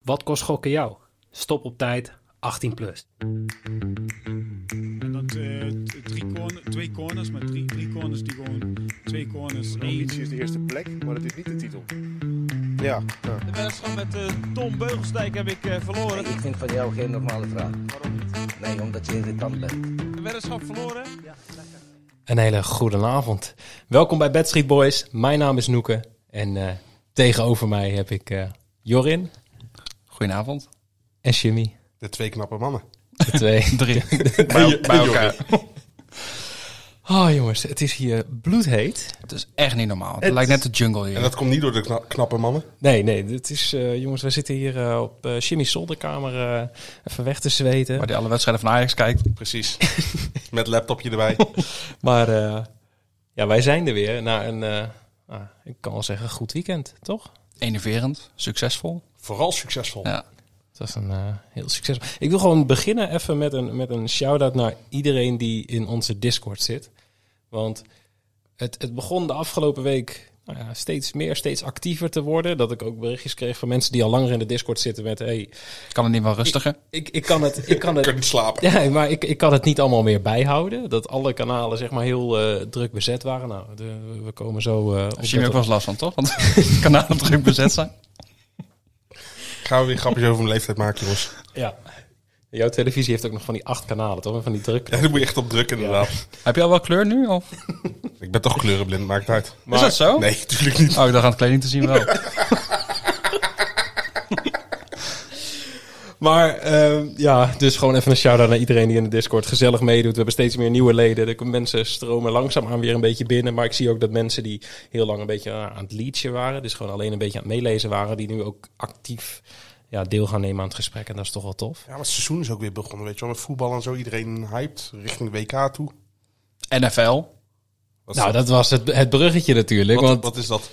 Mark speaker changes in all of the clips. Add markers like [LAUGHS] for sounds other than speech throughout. Speaker 1: Wat kost gokken jou? Stop op tijd, 18 plus.
Speaker 2: En dat eh, t- drie corner- twee corners, maar drie, drie corners die gewoon twee corners.
Speaker 3: De ambitie is de eerste plek, maar het is niet de titel. Ja, ja.
Speaker 4: De wedstrijd met eh, Tom Beugelsdijk heb ik eh, verloren.
Speaker 5: Ik vind van jou geen normale vraag.
Speaker 4: Waarom niet?
Speaker 5: Nee, omdat je irritant bent.
Speaker 4: De weddenschap verloren.
Speaker 1: Een hele goede avond. Welkom bij Bad Street Boys. Mijn naam is Noeke. En eh, tegenover mij heb ik eh, Jorin
Speaker 6: Goedenavond.
Speaker 1: en Jimmy.
Speaker 7: De twee knappe mannen.
Speaker 1: De twee. [LAUGHS]
Speaker 7: [LAUGHS]
Speaker 6: Drie. bij, bij elkaar.
Speaker 1: Oh jongens, het is hier bloedheet.
Speaker 6: Het is echt niet normaal. Het,
Speaker 1: Het-
Speaker 6: lijkt net de jungle hier.
Speaker 7: En dat komt niet door de kna- knappe mannen.
Speaker 1: Nee, nee, dit is, eh, jongens, we zitten hier eh, op eh, Jimmy's zolderkamer eh, even weg te zweten.
Speaker 6: Waar
Speaker 1: Maar,
Speaker 6: die alle wedstrijden van Ajax kijkt.
Speaker 7: Precies. [LAUGHS] Met laptopje
Speaker 1: [LAUGHS]
Speaker 7: erbij.
Speaker 1: eh, ja, wij zijn er weer na een, eh, ah, ik kan wel zeggen, goed weekend, toch?
Speaker 6: Enerverend. Succesvol.
Speaker 7: Vooral succesvol.
Speaker 6: Ja.
Speaker 1: Dat is een eh, heel succes. Ik wil gewoon beginnen even met een, met een shout-out naar iedereen die in onze Discord zit. Want het, het begon de afgelopen week nou ja, steeds meer, steeds actiever te worden. Dat ik ook berichtjes kreeg van mensen die al langer in de Discord zitten met... Hey,
Speaker 6: Kan het niet wel rustiger?
Speaker 1: ik, ik kan het, ik kan
Speaker 7: Ik [LAUGHS]
Speaker 1: het
Speaker 7: kan niet slapen.
Speaker 1: [LAUGHS] Ja, maar ik, ik kan het niet allemaal meer bijhouden. Dat alle kanalen zeg maar heel eh, druk bezet waren. Nou, de- we komen zo eh, op.
Speaker 6: Daar Jimmy ook
Speaker 1: dat-
Speaker 6: wel eens last van, toch? Want [LAUGHS] de kanalen druk bezet zijn.
Speaker 7: Gaan we weer grapjes over mijn leeftijd maken, jongens.
Speaker 1: Ja. Jouw televisie heeft ook nog van die acht kanalen, toch? En Van die druk.
Speaker 7: Ja, daar moet je echt op drukken, inderdaad.
Speaker 6: Heb je al wel kleur nu? Of?
Speaker 7: Ik ben toch kleurenblind, maakt niet uit.
Speaker 6: is dat zo?
Speaker 7: Nee, natuurlijk niet.
Speaker 6: Oh, ik dacht aan het kleding te
Speaker 7: [LAUGHS]
Speaker 6: zien wel.
Speaker 1: Maar ehm, ja, dus gewoon even een shout-out naar iedereen die in de Discord gezellig meedoet. We hebben steeds meer nieuwe leden. De mensen stromen langzaamaan weer een beetje binnen. Maar ik zie ook dat mensen die heel lang een beetje ah, aan het leadje waren, dus gewoon alleen een beetje aan het meelezen waren, die nu ook actief ja, deel gaan nemen aan het gesprek. En dat is toch wel tof.
Speaker 7: Ja, maar het seizoen is ook weer begonnen, weet je wel. Met voetbal en zo. Iedereen hyped richting WK toe.
Speaker 6: NFL.
Speaker 7: Wat is
Speaker 1: Nou, dat was het, het bruggetje natuurlijk.
Speaker 7: Wat,
Speaker 1: want
Speaker 7: wat is dat?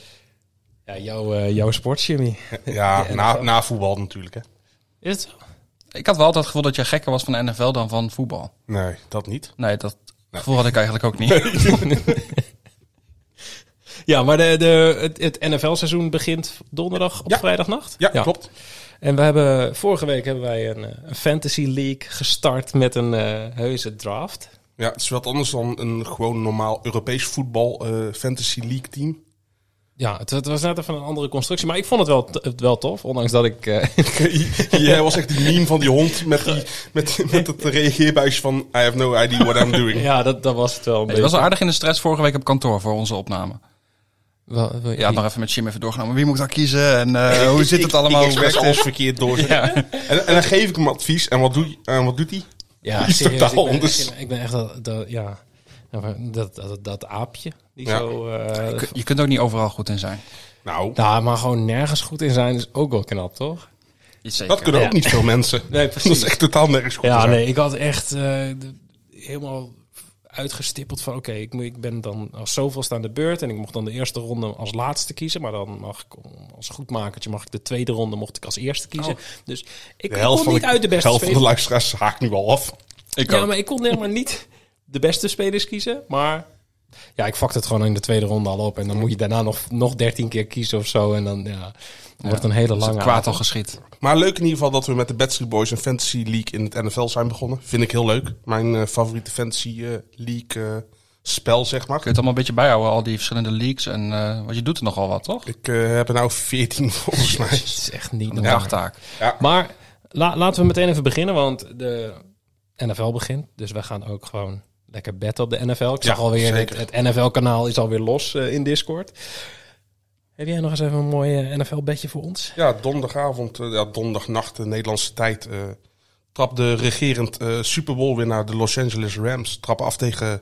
Speaker 1: Ja, jouw, eh, jouw sport, Jimmy.
Speaker 7: Ja, na, na voetbal natuurlijk, hè.
Speaker 1: Is het zo?
Speaker 6: Ik had wel altijd het gevoel dat jij gekker was van NFL dan van voetbal.
Speaker 7: Nee, dat niet.
Speaker 6: Nee, dat gevoel had ik eigenlijk ook
Speaker 7: [LAUGHS]
Speaker 6: niet.
Speaker 1: Ja, maar de, de, het, het NFL-seizoen begint donderdag op
Speaker 7: Ja.
Speaker 1: vrijdagnacht.
Speaker 7: Ja, klopt.
Speaker 1: En we hebben, vorige week hebben wij een, eh, een fantasy league gestart met een eh heuse draft.
Speaker 7: Ja, het is wat anders dan een gewoon normaal Europees voetbal eh, fantasy league team.
Speaker 1: Ja, het, het was net even een andere constructie. Maar ik vond het wel, t- het wel tof, ondanks dat ik... eh, [LAUGHS]
Speaker 7: Jij was echt die meme van die hond met, die, met, met het reageerbuis van I have no idea what I'm doing.
Speaker 1: ja, dat, dat was het wel een
Speaker 6: Het was
Speaker 1: beetje.
Speaker 6: wel aardig in de stress vorige week op kantoor voor onze opname.
Speaker 1: Wel- wel-
Speaker 6: Ja, had nog even met Jim even doorgenomen. Wie moet ik dan kiezen? En eh, hoe zit het
Speaker 7: [LAUGHS]
Speaker 6: allemaal?
Speaker 7: Ik,
Speaker 6: Hoe
Speaker 7: ik express
Speaker 6: werkt het?
Speaker 7: alles verkeerd
Speaker 6: [LAUGHS]
Speaker 7: door. En, en dan geef ik hem advies en wat, doe, en wat doet hij?
Speaker 1: [LAUGHS] Ja,
Speaker 7: Die is
Speaker 1: serieus,
Speaker 7: totaal
Speaker 1: ik, ben,
Speaker 7: anders.
Speaker 1: ik ben- ik ben echt dat, dat- ja, dat, dat, dat aapje die
Speaker 7: Ja.
Speaker 1: zo... eh,
Speaker 6: Je kunt ook niet overal goed in zijn.
Speaker 7: Nou,
Speaker 1: daar maar gewoon nergens goed in zijn is ook wel knap, toch?
Speaker 7: dat kunnen ook niet veel mensen.
Speaker 1: Nee,
Speaker 7: [LAUGHS] Dat is echt totaal nergens Dus goed.
Speaker 1: Ja,
Speaker 7: te zijn.
Speaker 1: nee, ik had echt eh, de- helemaal uitgestippeld van... oké, ik ik, moet- ik ben dan als zoveelste aan de beurt... en ik mocht dan de eerste ronde als laatste kiezen... maar dan mag ik om- als goedmakertje mag ik de tweede ronde mocht ik als eerste kiezen. Dus ik
Speaker 7: De helft,
Speaker 1: kon
Speaker 7: van
Speaker 1: niet
Speaker 7: de,
Speaker 1: uit de beste
Speaker 7: helft van de
Speaker 1: spelers...
Speaker 7: luisteraars haakt nu al af.
Speaker 6: Ik
Speaker 1: Ja, maar ik kon helemaal niet de beste spelers kiezen, maar... Ja, ik vakte het gewoon in de tweede ronde al op. En dan moet je daarna nog, nog 13 keer kiezen of zo. En dan ja, Dus wordt een hele lange
Speaker 6: kwaad al
Speaker 1: avond.
Speaker 6: geschiet.
Speaker 7: Maar leuk in ieder geval dat we met de Backstreet Boys een fantasy league in het NFL zijn begonnen. Vind ik heel leuk. Mijn eh, favoriete fantasy eh, league eh, spel, zeg maar.
Speaker 6: Kun je het allemaal een beetje bijhouden, al die verschillende leaks. En eh, want je doet er nogal wat, toch?
Speaker 7: Ik eh, heb er nou 14 [LAUGHS] volgens mij.
Speaker 1: Het is echt
Speaker 7: Oh.
Speaker 1: niet
Speaker 6: Een
Speaker 1: normaal.
Speaker 6: dagtaak.
Speaker 1: Maar la- laten we meteen even beginnen, want de NFL begint. Dus we gaan ook gewoon lekker betten op de NFL. Ik zag
Speaker 7: Ja,
Speaker 1: alweer, het,
Speaker 7: zeker.
Speaker 1: het NFL-kanaal is alweer los eh, in Discord. Heb jij nog eens even een mooi NFL-bedje voor ons?
Speaker 7: Ja, donderdagavond, eh, ja, donderdagnacht, de Nederlandse tijd. eh trap de regerend eh Super Bowl winnaar de Los Angeles Rams. Trap af tegen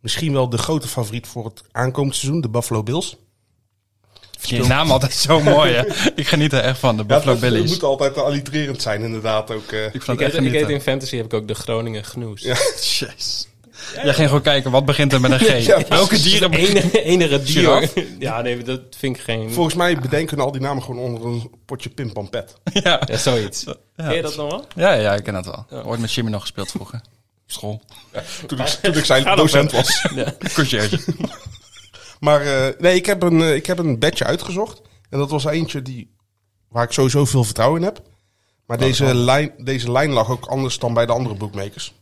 Speaker 7: misschien wel de grote favoriet voor het aankomend seizoen, de Buffalo Bills.
Speaker 6: Je naam altijd zo mooi,
Speaker 7: [LAUGHS]
Speaker 6: hè? Ik geniet er echt van, de Buffalo
Speaker 7: Het
Speaker 6: Billies.
Speaker 7: moet altijd allitererend zijn, inderdaad. Ook, eh.
Speaker 6: Ik
Speaker 1: Ik
Speaker 6: vond het
Speaker 1: heb,
Speaker 6: echt
Speaker 1: ik heb
Speaker 6: genieten.
Speaker 1: in Fantasy heb ik ook de Groningen Gnoes.
Speaker 7: Ja.
Speaker 6: Jeez. Jij ging gewoon kijken, wat begint
Speaker 7: [LAUGHS]
Speaker 6: er met een G?
Speaker 7: Ja, precies.
Speaker 1: [LAUGHS]
Speaker 6: Welke dieren beginnen?
Speaker 1: Enige, enige dier.
Speaker 6: Giraffe.
Speaker 1: Ja, nee, dat vind ik geen...
Speaker 7: Volgens mij bedenken al die namen gewoon onder een potje pimpampet.
Speaker 6: Ja.
Speaker 1: Ja, zoiets. Ken je dat nog wel?
Speaker 6: Ja, ja, ik ken dat wel. Ooit met Jimmy nog gespeeld vroeger. Op School.
Speaker 7: Toen
Speaker 6: [LAUGHS]
Speaker 7: ik, toen ik zijn docent was.
Speaker 6: Conciërge.
Speaker 7: Maar eh, nee, ik heb, een, eh, ik heb een bedje uitgezocht. En dat was eentje die, waar ik sowieso veel vertrouwen in heb. Maar deze lijn, deze lijn lag ook anders dan bij de andere bookmakers.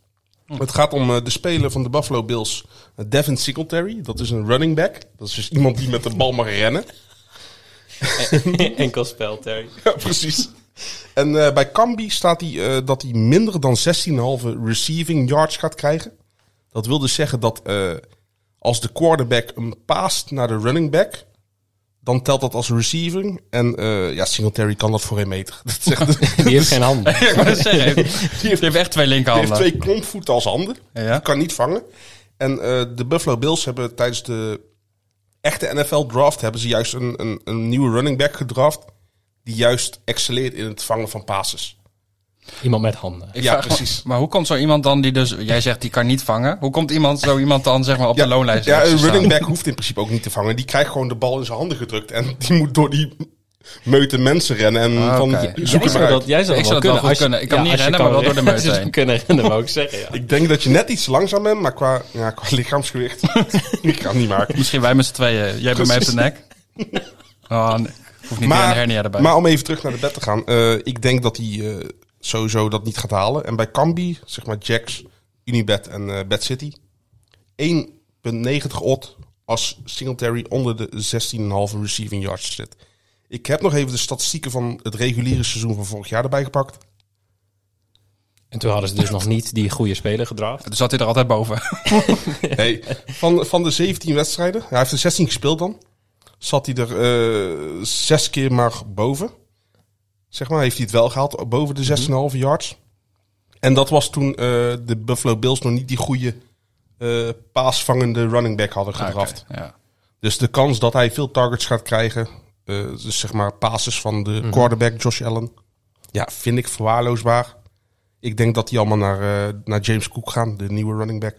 Speaker 7: Het gaat om eh, de speler van de Buffalo Bills, eh, Devin Singletary. Dat is een running back. Dat is dus iemand die met de bal mag rennen.
Speaker 1: [LAUGHS] Enkel spel, Terry.
Speaker 7: Ja, [LAUGHS] precies. En eh, bij Cambi staat hij eh, dat hij minder dan 16,5 receiving yards gaat krijgen. Dat wil dus zeggen dat eh, als de quarterback hem paast naar de running back, dan telt dat als receiving. En eh ja, Singletary kan dat voor een meter. [LAUGHS] Dat zegt
Speaker 1: Die heeft geen handen.
Speaker 6: Ja, ik wou net zeggen, die heeft, die heeft echt twee
Speaker 7: Hij heeft
Speaker 6: linkerhanden.
Speaker 7: twee klompvoeten als handen.
Speaker 6: Ja.
Speaker 7: Kan niet vangen. En eh, de Buffalo Bills hebben tijdens de echte NFL draft... hebben ze juist een, een, een nieuwe running back gedraft... die juist excelleert in het vangen van passes.
Speaker 1: [LAUGHS] Iemand met handen.
Speaker 6: Ik
Speaker 7: Ja,
Speaker 6: vraag me-
Speaker 7: precies.
Speaker 6: maar hoe komt zo iemand dan die dus... Jij zegt die kan niet vangen. Hoe komt iemand zo iemand dan zeg maar op
Speaker 7: Ja,
Speaker 6: de loonlijst
Speaker 7: ja,
Speaker 6: te
Speaker 7: een
Speaker 6: staan?
Speaker 7: running back hoeft in principe ook niet te vangen. Die krijgt gewoon de bal in zijn handen gedrukt... en [LAUGHS] die moet door die meute mensen rennen. En
Speaker 6: Ah,
Speaker 7: van,
Speaker 6: oké.
Speaker 7: zoek
Speaker 1: Jij
Speaker 7: hem
Speaker 1: zou
Speaker 7: maar uit.
Speaker 1: dat, jij zou
Speaker 6: Ik
Speaker 1: dat
Speaker 6: zou dat wel
Speaker 1: wel kunnen.
Speaker 6: goed
Speaker 1: Als je-
Speaker 6: kunnen. Ik kan niet
Speaker 1: als je
Speaker 6: rennen, maar wel door de
Speaker 1: [LAUGHS]
Speaker 6: meute
Speaker 1: als je
Speaker 6: heen.
Speaker 1: kunnen rennen, wou ik zeggen, ja.
Speaker 7: Ik denk dat je net iets langzaam bent, maar qua, ja, qua lichaamsgewicht... [LAUGHS] ik kan het niet maken.
Speaker 6: Misschien wij met z'n tweeën. Jij bij mij op de nek. Oh, nee. Hoeft niet meer een hernia erbij.
Speaker 7: Maar om even terug naar de bed te gaan. eh, ik denk dat hij eh, sowieso dat niet gaat halen. En bij Cambi, zeg maar Jax, Unibet en eh Bad City. 1,90 odd als Singletary onder de 16,5 receiving yards zit. Ik heb nog even de statistieken van het reguliere seizoen van vorig jaar erbij gepakt.
Speaker 1: En toen hadden ze dus nog niet die goede speler gedraft.
Speaker 6: Dus zat hij er altijd boven. [LAUGHS]
Speaker 7: Nee, van, van de 17 wedstrijden, hij heeft er 16 gespeeld dan, zat hij er eh zes keer maar boven. Zeg maar, heeft hij het wel gehaald, boven
Speaker 1: Mhm.
Speaker 7: de 6,5 yards. En dat was toen eh, de Buffalo Bills nog niet die goede eh, paasvangende running back hadden gedraft.
Speaker 6: Ah, oké, ja.
Speaker 7: Dus de kans dat hij veel targets gaat krijgen, eh, dus zeg maar passes van de
Speaker 1: Mhm.
Speaker 7: quarterback Josh Allen, ja, vind ik verwaarloosbaar. Ik denk dat die allemaal naar, eh, naar James Cook gaan, de nieuwe running back.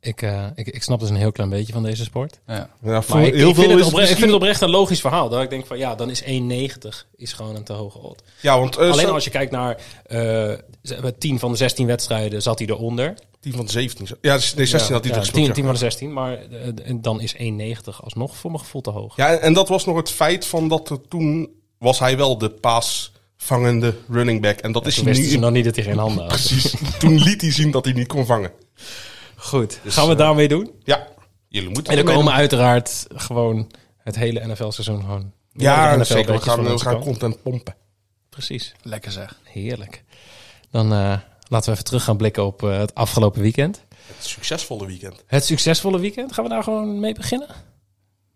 Speaker 1: Ik, eh, ik, ik snap dus een heel klein beetje van deze sport.
Speaker 6: Ja.
Speaker 7: Ja, voor
Speaker 1: Maar ik,
Speaker 7: heel
Speaker 1: ik, vind het
Speaker 7: veel is
Speaker 1: oprecht, ik
Speaker 7: misschien-
Speaker 1: vind het oprecht een logisch verhaal. Dat ik denk van, ja, dan is 1,90 is gewoon een te hoge odd.
Speaker 7: Ja, want eh,
Speaker 1: Alleen
Speaker 7: zo-
Speaker 1: als je kijkt naar eh, ze hebben 10 van de 16 wedstrijden zat hij eronder.
Speaker 7: 10 van de 17. zo- Ja, nee, 16 had hij
Speaker 1: ja,
Speaker 7: er gespeeld.
Speaker 1: 10,
Speaker 7: ja.
Speaker 1: 10 van de 16, maar eh, en dan is 1,90 alsnog voor mijn gevoel te hoog.
Speaker 7: Ja, en, en dat was nog het feit van dat er toen was hij wel de paasvangende running back. En dat is
Speaker 1: Toen
Speaker 7: hij
Speaker 1: wisten
Speaker 7: nu
Speaker 1: ze
Speaker 7: in-
Speaker 1: nog niet dat hij geen handen had. [LAUGHS]
Speaker 7: precies. toen liet hij zien dat hij niet kon vangen.
Speaker 1: Goed, Dus, gaan
Speaker 7: eh,
Speaker 1: we het daarmee doen?
Speaker 7: Ja, jullie moeten
Speaker 1: En dan
Speaker 7: ermee
Speaker 1: komen
Speaker 7: doen.
Speaker 1: uiteraard gewoon het hele NFL-seizoen gewoon. meerdere
Speaker 7: Ja,
Speaker 1: NFL
Speaker 7: zeker. We
Speaker 1: bedjes
Speaker 7: gaan,
Speaker 1: van
Speaker 7: we
Speaker 1: onze
Speaker 7: gaan
Speaker 1: kant.
Speaker 7: content pompen.
Speaker 1: Precies,
Speaker 6: Lekker zeg.
Speaker 1: heerlijk. Dan eh, laten we even terug gaan blikken op eh, het afgelopen weekend.
Speaker 7: Het succesvolle weekend.
Speaker 1: Het succesvolle weekend, gaan we daar gewoon mee beginnen?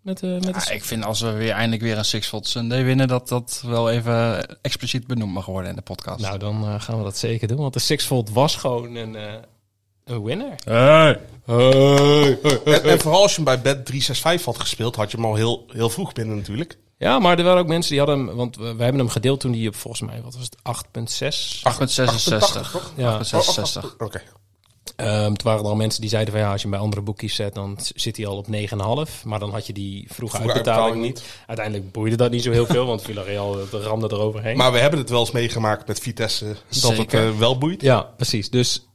Speaker 1: Met, eh, met
Speaker 6: Ja,
Speaker 1: de...
Speaker 6: Ah, ik vind als we weer eindelijk weer een Six Volt Sunday winnen, dat dat wel even expliciet benoemd mag worden in de podcast.
Speaker 1: Nou, dan eh, gaan we dat zeker doen, want de Sixfold was gewoon een, eh, een winner.
Speaker 7: En, en vooral als je hem bij bed 365 had gespeeld, had je hem al heel, heel vroeg binnen natuurlijk.
Speaker 1: Ja, maar er waren ook mensen die hadden hem, want we, wij hebben hem gedeeld toen die op volgens mij, wat was het, 8,6?
Speaker 6: 8,66.
Speaker 7: 88, toch?
Speaker 1: Ja.
Speaker 6: 8,66.
Speaker 7: Oké.
Speaker 1: Ehm, toen waren er al mensen die zeiden van ja, als je hem bij andere boekjes zet, dan z- zit hij al op 9,5. Maar dan had je die vroege,
Speaker 7: Vroege
Speaker 1: uitbetaling
Speaker 7: uitbetaling
Speaker 1: niet. Uiteindelijk boeide dat niet zo heel veel, want Villarreal eh, ramde eroverheen.
Speaker 7: Maar we hebben het wel eens meegemaakt met Vitesse, dat het
Speaker 6: Zeker.
Speaker 7: eh, wel boeit.
Speaker 1: ja, precies. Dus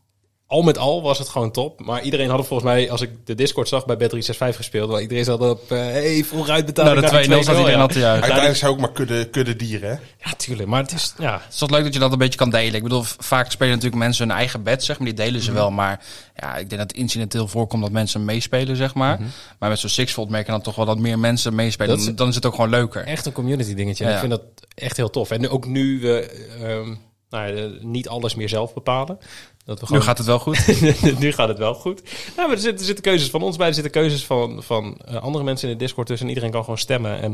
Speaker 1: al met al was het gewoon top. Maar iedereen had het volgens mij, als ik de Discord zag, bij Bet365 gespeeld. Want iedereen zat op, eh hey, vroeg uitbetaling.
Speaker 6: Nou, de
Speaker 1: naar die
Speaker 6: 2-0 zat
Speaker 1: 2-0,
Speaker 6: iedereen
Speaker 1: ja.
Speaker 6: al te juichen.
Speaker 7: Uiteindelijk zijn ook maar kudde, kudde dieren, hè?
Speaker 1: Ja, tuurlijk. Maar het is, ja,
Speaker 6: Het is toch leuk dat je dat een beetje kan delen. Ik bedoel, v- vaak spelen natuurlijk mensen hun eigen bed, zeg maar. Die delen
Speaker 1: Mhm.
Speaker 6: ze wel. Maar ja, ik denk dat het incidenteel voorkomt dat mensen meespelen, zeg maar. Maar met zo'n Sixfold merken dan toch wel dat meer mensen meespelen.
Speaker 1: Mhm. Dat is-
Speaker 6: Dan is het ook gewoon leuker.
Speaker 1: echt een community dingetje. En
Speaker 6: Ja.
Speaker 1: Ik vind dat echt heel tof. En nu- ook nu we ehm, nou ja, eh, niet alles meer zelf bepalen. Dat we
Speaker 6: Nu
Speaker 1: gewoon
Speaker 6: gaat het wel
Speaker 1: [LAUGHS]
Speaker 6: goed.
Speaker 1: nu gaat het wel goed. Nou, maar er zitten, er zitten keuzes van ons bij, er zitten keuzes van, van eh, andere mensen in de Discord tussen. En iedereen kan gewoon stemmen. En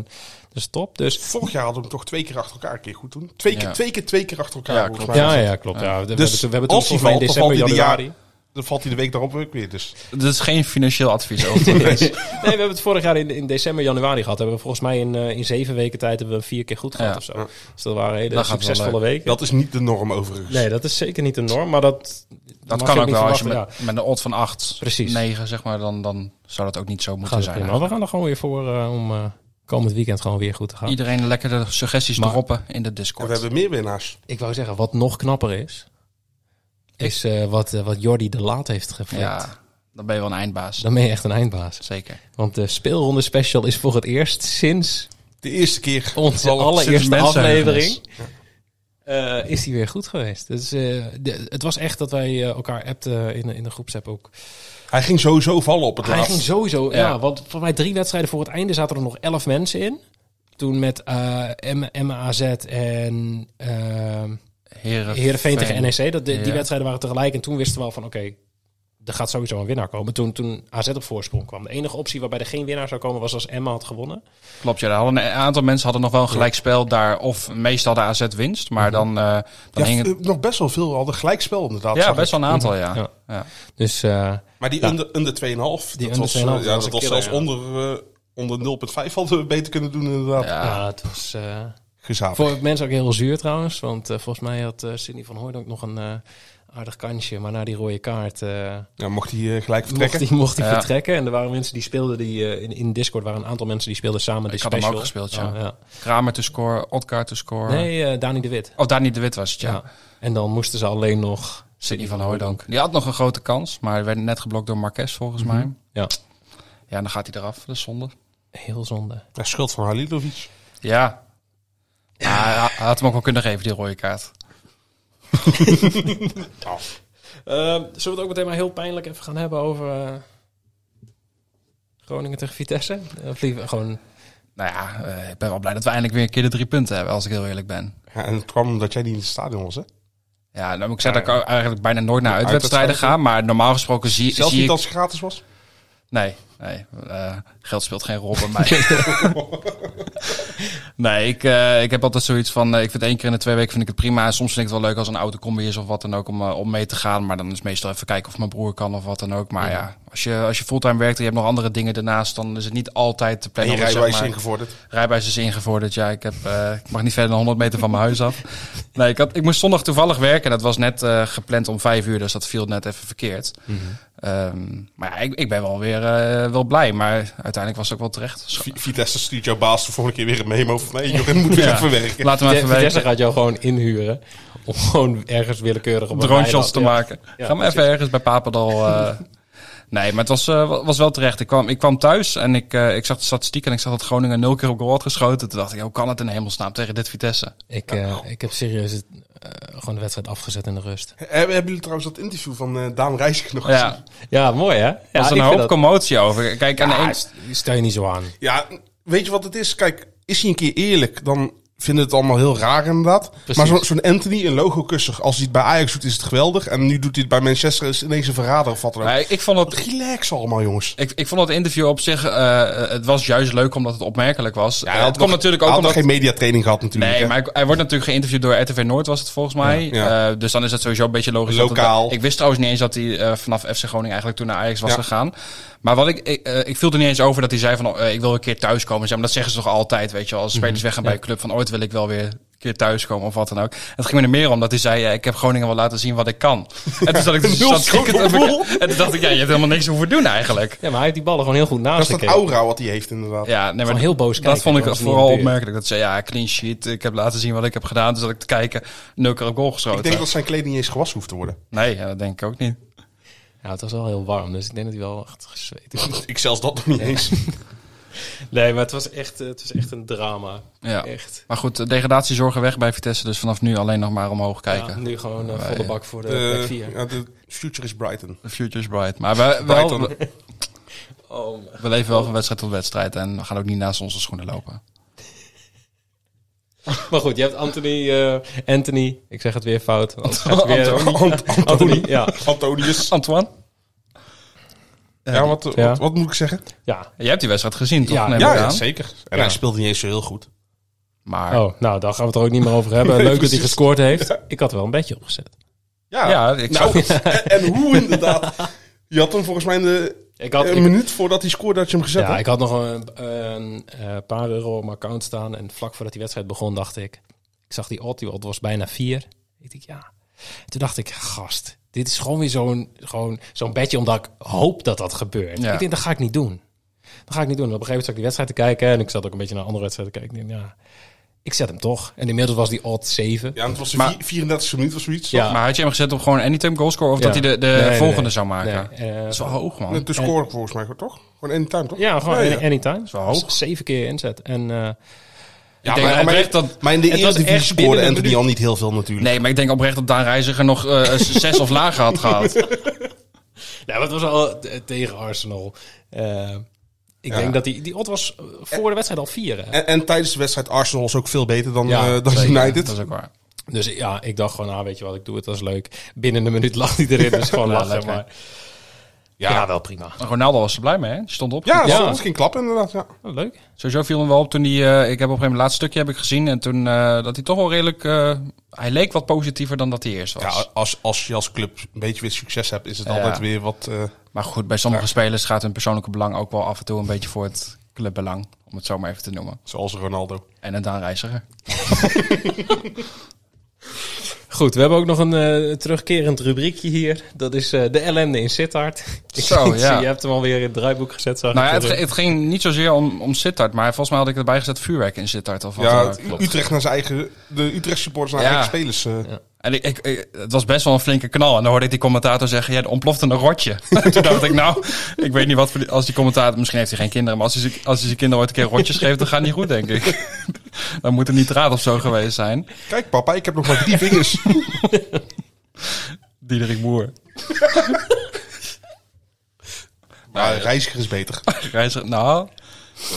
Speaker 1: dat is top. Dus
Speaker 7: Vorig jaar hadden we hem toch twee keer achter elkaar een keer goed doen. Twee keer,
Speaker 6: Ja.
Speaker 7: twee keer, twee keer achter elkaar.
Speaker 6: Ja,
Speaker 7: volgens
Speaker 6: klopt.
Speaker 7: mij was
Speaker 1: ja,
Speaker 7: het.
Speaker 1: ja, klopt. Ja. We,
Speaker 7: Dus
Speaker 1: hebben, we hebben
Speaker 7: als
Speaker 1: toen
Speaker 7: hij
Speaker 1: volgens mij in
Speaker 7: valt, dan
Speaker 1: december,
Speaker 7: valt hij de
Speaker 1: januari.
Speaker 7: jaar- Dan valt hij de week daarop ook weer dus.
Speaker 6: Dit is geen financieel advies
Speaker 1: [LAUGHS]
Speaker 6: over.
Speaker 1: Nee, we hebben het vorig jaar in, in december, januari gehad. Hebben we volgens mij in, eh, in zeven weken tijd hebben we hem vier keer goed gehad
Speaker 6: Ja.
Speaker 1: of zo. Dus dat waren hele
Speaker 6: Dat gaat wel
Speaker 1: succesvolle weken.
Speaker 7: Dat is niet de norm overigens.
Speaker 1: nee, dat is zeker niet de norm, maar dat mag
Speaker 6: Dat
Speaker 1: je
Speaker 6: kan ook
Speaker 1: niet
Speaker 6: wel. Als je met,
Speaker 1: verwachten, ja.
Speaker 6: met een odd van 8,
Speaker 1: Precies.
Speaker 6: 9, zeg maar, dan, dan zou dat ook niet zo moeten
Speaker 1: Gaat het
Speaker 6: zijn.
Speaker 1: prima. We gaan er gewoon weer voor eh, om eh, komend weekend gewoon weer goed te gaan.
Speaker 6: Iedereen lekker de suggesties
Speaker 1: Maar-
Speaker 6: droppen in de
Speaker 7: En
Speaker 6: Discord.
Speaker 7: we hebben meer winnaars.
Speaker 1: Ik wou zeggen, wat nog knapper is, is eh, wat, eh, wat Jordi de Laat heeft geflikt.
Speaker 6: Ja, dan ben je wel een eindbaas.
Speaker 1: Dan ben je echt een eindbaas.
Speaker 6: Zeker.
Speaker 1: Want de speelronde special is voor het eerst sinds
Speaker 7: De eerste keer.
Speaker 1: onze
Speaker 7: Alle-
Speaker 1: allereerste aflevering
Speaker 6: mensenheugenis.
Speaker 8: eh, is hij weer goed geweest. Dus, eh, de- het was echt dat wij eh, elkaar appten in, de- in de groepsapp ook.
Speaker 7: Hij ging sowieso vallen op het
Speaker 8: Hij
Speaker 7: laatst.
Speaker 8: ging sowieso, ja.
Speaker 6: Ja.
Speaker 8: want voor mij drie wedstrijden voor het einde zaten er nog elf mensen in. Toen met eh, M- MAZ en eh,
Speaker 6: Heren,
Speaker 8: Heerenveen tegen NEC. Dat, de-
Speaker 6: Ja.
Speaker 8: Die wedstrijden waren tegelijk. En toen wisten we al van, oké, er gaat sowieso een winnaar komen. Toen, toen AZ op voorsprong kwam. De enige optie waarbij er geen winnaar zou komen was als Emma had gewonnen.
Speaker 6: Klopt, ja. daar hadden een aantal mensen hadden nog wel een gelijkspel daar. Of meestal de AZ winst. Maar dan, eh, dan
Speaker 7: Mhm. Ja,
Speaker 6: hing het...
Speaker 7: v- nog best wel veel hadden gelijkspel inderdaad.
Speaker 6: Ja,
Speaker 7: zag
Speaker 6: best
Speaker 7: ik.
Speaker 6: wel een aantal, ja.
Speaker 8: Ja.
Speaker 6: ja.
Speaker 8: Dus eh,
Speaker 7: Maar die
Speaker 8: Ja.
Speaker 7: onder, onder 2,5, dat
Speaker 8: onder
Speaker 7: was,
Speaker 8: 2,5,
Speaker 7: eh, ja,
Speaker 8: was
Speaker 7: dat
Speaker 8: een
Speaker 7: was
Speaker 8: killer,
Speaker 7: zelfs
Speaker 8: ja.
Speaker 7: onder, eh onder 0,5 hadden we beter kunnen doen inderdaad.
Speaker 6: Ja.
Speaker 8: ja, het was... eh,
Speaker 7: Gezapig.
Speaker 8: Voor mensen ook heel zuur trouwens, want eh, volgens mij had eh Sidney van Hooydonk nog een eh, aardig kansje. Maar na die rode kaart eh,
Speaker 7: Ja, mocht hij eh, gelijk
Speaker 8: mocht
Speaker 7: vertrekken.
Speaker 8: hij, mocht hij
Speaker 6: Ja.
Speaker 8: vertrekken. En er waren mensen die speelden, die, eh, in, in Discord waren een aantal mensen die speelden samen de
Speaker 6: Ik had hem
Speaker 8: special.
Speaker 6: ook gespeeld, ja.
Speaker 8: Oh,
Speaker 6: Kramer te scoren, Otkaart te scoren.
Speaker 8: Nee, eh, Dani de Wit.
Speaker 6: Oh, daar niet de Wit was het,
Speaker 8: Ja.
Speaker 6: ja.
Speaker 8: En dan moesten ze alleen nog...
Speaker 6: Sidney van Hooydonk. Die had nog een grote kans, maar werd net geblokt door Marques volgens mij.
Speaker 8: Mhm. Ja,
Speaker 6: Ja, dan gaat hij eraf. Dat is zonde.
Speaker 8: heel zonde.
Speaker 7: Ja, schuld van Halilovic.
Speaker 6: Ja. Maar hij- hij had hem ook wel kunnen geven, die rode kaart.
Speaker 8: Eh, zullen we het ook meteen maar heel pijnlijk even gaan hebben over... eh, Groningen tegen Vitesse? Of liever gewoon...
Speaker 6: Nou ja, eh, ik ben wel blij dat we eindelijk weer een keer de drie punten hebben, als ik heel eerlijk ben.
Speaker 7: Ja, en het kwam omdat jij niet in het stadion was, hè?
Speaker 6: Ja, dan moet ik zeggen dat ik eigenlijk bijna nooit naar uitwedstrijden ga.
Speaker 7: uitwedstrijden.
Speaker 6: Maar normaal gesproken zie,
Speaker 7: Zelfs
Speaker 6: zie
Speaker 7: niet
Speaker 6: ik...
Speaker 7: als het gratis was.
Speaker 6: Nee, nee eh, geld speelt geen rol bij
Speaker 7: [LAUGHS]
Speaker 6: mij. [LAUGHS] nee, ik, eh, ik heb altijd zoiets van... eh, ik vind één keer in de twee weken vind ik het prima. Soms vind ik het wel leuk als een auto combi is of wat dan ook om, eh, om mee te gaan. Maar dan is meestal even kijken of mijn broer kan of wat dan ook. Maar ja, als, je, als je fulltime werkt en je hebt nog andere dingen daarnaast... dan is het niet altijd te
Speaker 7: En
Speaker 6: plannen.
Speaker 7: je
Speaker 6: om het, zeg
Speaker 7: rijbewijs
Speaker 6: maar-
Speaker 7: ingevorderd.
Speaker 6: Rijbewijs is ingevorderd. Ja, ik, heb, eh, ik mag niet verder dan 100 meter van mijn huis af. Nee, ik, had, ik moest zondag toevallig werken. Dat was net eh, gepland om 5 uur, dus dat viel net even verkeerd. Ehm, maar ja, ik, ik ben wel weer eh, wel blij. Maar uiteindelijk was het ook wel terecht. Dus Zo-
Speaker 7: V- Vitesse stuurt jouw baas de volgende keer weer een memo van... Nee, Jorin moet weer
Speaker 6: Ja.
Speaker 7: even werken.
Speaker 6: Laten we even
Speaker 8: Vitesse
Speaker 6: weten.
Speaker 8: gaat jou gewoon inhuren om gewoon ergens willekeurig op een
Speaker 6: Drone shots
Speaker 8: eiland-
Speaker 6: te
Speaker 8: Ja.
Speaker 6: maken.
Speaker 8: Ja,
Speaker 6: Ga maar even ergens bij Papendal. eh, nee, maar het was, eh, wa- was wel terecht. Ik kwam, ik kwam thuis en ik, eh, ik zag de statistiek en ik zag dat Groningen nul keer op goal had geschoten. Toen dacht ik, hoe kan het in hemelsnaam tegen dit Vitesse?
Speaker 8: Ik, eh, ik heb serieus het, eh, gewoon de wedstrijd afgezet in de rust.
Speaker 7: He- eh, Hebben jullie trouwens dat interview van eh, Daan Rijsink nog gezien?
Speaker 6: Ja,
Speaker 8: Ja, mooi hè?
Speaker 6: Er was een hoop commotie over. Kijk, aan de een...
Speaker 8: Stel je niet zo aan.
Speaker 7: Ja, weet je wat het is? Kijk, is hij een keer eerlijk, dan vinden we het allemaal heel raar inderdaad. Maar zo- zo'n Anthony, een logo-kusser, als hij het bij Ajax doet, is het geweldig. En nu doet hij het bij Manchester, is ineens een verrader of wat dan ook.
Speaker 6: Maar ik, vond het,
Speaker 7: Relax allemaal, jongens.
Speaker 6: ik, ik vond het interview op zich... eh, het was juist leuk omdat het opmerkelijk was. Eh, het komt natuurlijk
Speaker 7: hij
Speaker 6: ook
Speaker 7: had nog
Speaker 6: omdat...
Speaker 7: geen mediatraining gehad natuurlijk.
Speaker 6: Nee,
Speaker 7: hè?
Speaker 6: maar hij- hij wordt natuurlijk geïnterviewd door RTV Noord, was het volgens mij.
Speaker 7: ja.
Speaker 6: Eh, dus dan is dat sowieso een beetje logisch. dat het-
Speaker 7: Lokaal.
Speaker 6: ik wist trouwens niet eens dat hij eh, vanaf FC Groningen eigenlijk toen naar Ajax was
Speaker 7: Ja.
Speaker 6: gegaan. Maar wat ik, ik, eh, ik viel er niet eens over dat hij zei van... oh, eh, ik wil een keer thuiskomen. Zeg maar, dat zeggen ze toch altijd, weet je wel. Als spelers
Speaker 7: Mhm.
Speaker 6: weggaan bij een club van ooit wil ik wel weer een keer thuiskomen of wat dan ook. En het ging me er meer om dat hij zei... eh, ik heb Groningen wel laten zien wat ik kan. En toen zat
Speaker 7: [LAUGHS]
Speaker 6: ik de
Speaker 7: Nul
Speaker 6: statistieken
Speaker 7: schoten op
Speaker 6: te bek-
Speaker 7: doel.
Speaker 6: [LAUGHS] En toen dacht ik, ja, je hebt helemaal niks hoeven doen eigenlijk.
Speaker 8: Ja, maar hij heeft die ballen gewoon heel goed
Speaker 7: Dat
Speaker 8: naast
Speaker 7: is dat
Speaker 8: gekeken.
Speaker 7: aura wat hij heeft inderdaad.
Speaker 6: Ja, nee, maar
Speaker 8: Van heel boos kijken,
Speaker 6: Dat vond ik
Speaker 8: dat was niet
Speaker 6: vooral
Speaker 8: duur.
Speaker 6: opmerkelijk. Dat ze ja, clean sheet. Ik heb laten zien wat ik heb gedaan. Dus dat ik te kijken, nul keer op goal geschoten.
Speaker 7: Ik denk dat zijn kleding niet eens gewassen hoeft te worden.
Speaker 6: Nee, ja, dat denk ik ook niet.
Speaker 8: Ja, het was wel heel warm, dus ik denk dat hij wel echt gezweet is.
Speaker 7: Ik zelfs dat nog niet eens.
Speaker 8: Nee, maar het was echt, eh, het was echt een drama.
Speaker 6: Ja.
Speaker 8: Echt.
Speaker 6: Maar goed, de degradatie zorgen weg bij Vitesse. Dus vanaf nu alleen nog maar omhoog
Speaker 8: Ja,
Speaker 6: kijken.
Speaker 8: nu gewoon eh, volle bak voor de plek
Speaker 7: Eh,
Speaker 8: 4.
Speaker 7: ja, de future is Brighton.
Speaker 6: The future is bright. Maar we, wel,
Speaker 7: Brighton.
Speaker 6: we,
Speaker 8: Oh,
Speaker 6: we leven wel van wedstrijd tot wedstrijd. En we gaan ook niet naast onze schoenen
Speaker 7: [LAUGHS]
Speaker 6: lopen.
Speaker 8: maar goed, je hebt Anthony, eh, Anthony, ik zeg het weer fout. Want het [LAUGHS] gaat weer-
Speaker 7: Ant-
Speaker 8: Anthony, ja.
Speaker 7: Antonius.
Speaker 6: [LAUGHS] Antoine?
Speaker 7: Ja, wat,
Speaker 8: Ja.
Speaker 7: Wat, wat moet ik zeggen?
Speaker 8: Ja.
Speaker 6: Jij hebt die wedstrijd gezien, toch?
Speaker 8: Ja,
Speaker 6: Neem
Speaker 7: Ja,
Speaker 6: ik aan.
Speaker 7: ja, zeker. En hij speelt niet eens zo heel goed.
Speaker 6: Maar
Speaker 8: Oh, nou, daar gaan we het er ook niet meer over [LAUGHS] hebben. Leuk dat hij gescoord heeft. Ik had er wel een beetje opgezet.
Speaker 7: Ja,
Speaker 6: Ja, ik
Speaker 7: nou, [LAUGHS] en, en hoe inderdaad. Je had hem volgens mij in de,
Speaker 8: Ik had, Eh,
Speaker 7: een
Speaker 8: ik-
Speaker 7: minuut voordat hij scoorde dat je hem gezet
Speaker 8: Ja,
Speaker 7: had.
Speaker 8: ik had nog een, een, eh, paar euro op mijn account staan. En vlak voordat die wedstrijd begon, dacht ik... Ik zag die odd, die odd was bijna vier. Ik dacht, ja. En toen dacht ik, gast, dit is gewoon weer zo'n gewoon zo'n bedje... omdat ik hoop dat dat gebeurt.
Speaker 6: Ja.
Speaker 8: Ik denk, dat ga ik niet doen. Dat ga ik niet doen. En op een gegeven moment zat ik die wedstrijd te kijken... en ik zat ook een beetje naar andere wedstrijden te kijken. Ik denk, ja, ik zet hem toch. En inmiddels was die odd 7.
Speaker 7: Ja, en het was de
Speaker 6: Maar-
Speaker 7: vier- 34e minuut of zoiets.
Speaker 8: Ja.
Speaker 6: Maar had je hem gezet op gewoon anytime goalscore? Of dat hij de, de
Speaker 8: Nee, nee,
Speaker 6: volgende
Speaker 8: nee.
Speaker 6: zou maken?
Speaker 8: Nee, eh,
Speaker 6: dat is wel hoog, man.
Speaker 7: Net de score volgens mij, toch? Gewoon anytime, toch?
Speaker 8: Ja, gewoon
Speaker 7: Ja, ja.
Speaker 8: any- anytime.
Speaker 6: wel hoog.
Speaker 8: Zeven keer inzet. En eh, [LAUGHS]
Speaker 6: ik denk
Speaker 7: maar, maar-
Speaker 6: oprecht dat...
Speaker 7: maar in de
Speaker 6: het was
Speaker 7: eerste
Speaker 6: echt
Speaker 7: divisie
Speaker 6: binnen
Speaker 7: scoorde
Speaker 6: een
Speaker 7: Anthony
Speaker 6: minuut.
Speaker 7: al niet heel veel natuurlijk.
Speaker 6: Nee, maar ik denk oprecht dat Daan Reiziger
Speaker 7: [LAUGHS]
Speaker 6: nog eh, een zes of lager had gehad.
Speaker 1: Nou, wat was al eh, tegen Arsenal. Eh, ik
Speaker 7: Ja.
Speaker 1: denk dat die, die odd was eh, voor de wedstrijd al vier. hè?
Speaker 7: En, en tijdens de wedstrijd Arsenal is ook veel beter dan,
Speaker 1: Ja,
Speaker 7: eh, dan
Speaker 6: Zeker,
Speaker 7: United.
Speaker 6: Dat is ook waar.
Speaker 1: Dus ja, ik dacht gewoon, ah, weet je wat, ik doe het, dat is leuk. Binnen een minuut lag hij erin, dus gewoon
Speaker 6: Nou,
Speaker 1: lachen.
Speaker 6: lekker.
Speaker 1: Maar, ja.
Speaker 7: Ja.
Speaker 1: wel prima.
Speaker 6: Maar Ronaldo was er blij mee, hè? Die stond op.
Speaker 7: Ja, dat
Speaker 1: Ja.
Speaker 7: was geen klap inderdaad. Ja.
Speaker 1: Oh, leuk.
Speaker 6: Sowieso viel hem wel op toen hij... eh, ik heb op een gegeven moment het laatste stukje heb ik gezien. En toen eh, dat hij toch wel redelijk... eh, hij leek wat positiever dan dat hij eerst was.
Speaker 7: Ja, als, als je als club een beetje weer succes hebt, is het
Speaker 6: Ja.
Speaker 7: altijd weer wat... eh,
Speaker 6: Maar goed, bij sommige spelers gaat hun persoonlijke belang ook wel af en toe een beetje voor het clubbelang. Om het zo maar even te noemen.
Speaker 7: zoals Ronaldo.
Speaker 6: En een Daan Reiziger.
Speaker 1: Goed, we hebben ook nog een eh, terugkerend rubriekje hier. Dat is eh, de ellende in Sittard. [LAUGHS]
Speaker 6: Zo,
Speaker 1: Ik zie,
Speaker 6: ja.
Speaker 1: Je hebt hem alweer in het draaiboek gezet, zag
Speaker 6: Nou
Speaker 1: ik.
Speaker 6: ja, het,
Speaker 1: Dat-
Speaker 6: ge- het ging niet zozeer om, om Sittard, maar volgens mij had ik erbij gezet vuurwerk in Sittard. Of wat
Speaker 7: Ja,
Speaker 6: dan ook.
Speaker 7: het- Utrecht naar zijn eigen... De Utrecht supporters naar
Speaker 6: Ja.
Speaker 7: eigen spelers. eh.
Speaker 6: En ik, ik, ik- het was best wel een flinke knal. En dan hoorde ik die commentator zeggen, ja, er ontplofte een rotje. [LAUGHS] Toen dacht ik, nou, ik weet niet wat voor die- als die commentator... Misschien heeft hij geen kinderen, maar als hij, zijn- als hij zijn kinderen ooit een keer rotjes geeft, dan gaat het niet goed, denk ik. [LAUGHS] dan moet er nitraat of zo geweest zijn.
Speaker 7: Kijk papa, ik heb nog maar drie
Speaker 6: [LAUGHS]
Speaker 7: vingers.
Speaker 6: Diederik Boer.
Speaker 7: Maar Reiziger is beter.
Speaker 6: Reiziger, nou,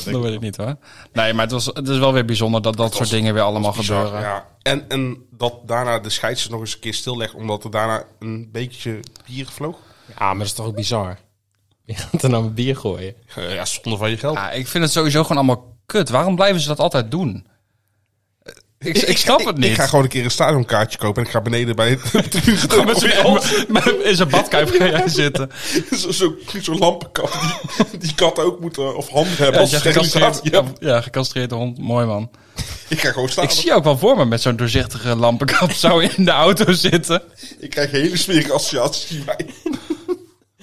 Speaker 6: dat, weet ik niet hoor. Nee, maar het, was, het is wel weer bijzonder dat dat soort dingen weer allemaal gebeuren.
Speaker 7: Ja. En, en dat daarna de scheidsrechter nog eens een keer stillegt, omdat er daarna een beetje bier vloog.
Speaker 1: Ja, Ah, maar dat is toch ook bizar? Je gaat er nou een bier gooien.
Speaker 7: Eh, ja, zonder van je geld.
Speaker 6: Ja, ik vind het sowieso gewoon allemaal kut. Waarom blijven ze dat altijd doen? Eh, Ik, [LAUGHS] ik snap het
Speaker 7: Ik
Speaker 6: niet.
Speaker 7: ga gewoon een keer een stadionkaartje kopen en ik ga beneden bij het [LAUGHS] tribune gewoon
Speaker 6: met
Speaker 7: weer
Speaker 6: z'n- [LAUGHS] met- in zijn badkuip gaan jij zitten.
Speaker 7: [LAUGHS] zo- zo- Zo'n lampenkap die, die kat ook moet eh, of handen hebben.
Speaker 6: Ja,
Speaker 7: als
Speaker 6: als je
Speaker 7: sterilisatie.
Speaker 6: gecastreerd, ja, ja, gecastreerde hond. Mooi man.
Speaker 7: Ik ga gewoon staan.
Speaker 6: Ik
Speaker 7: Ik,
Speaker 6: zie ook wel voor me met zo'n doorzichtige lampenkap [LAUGHS] zo in de auto zitten.
Speaker 7: krijg een hele smerige associatie bij.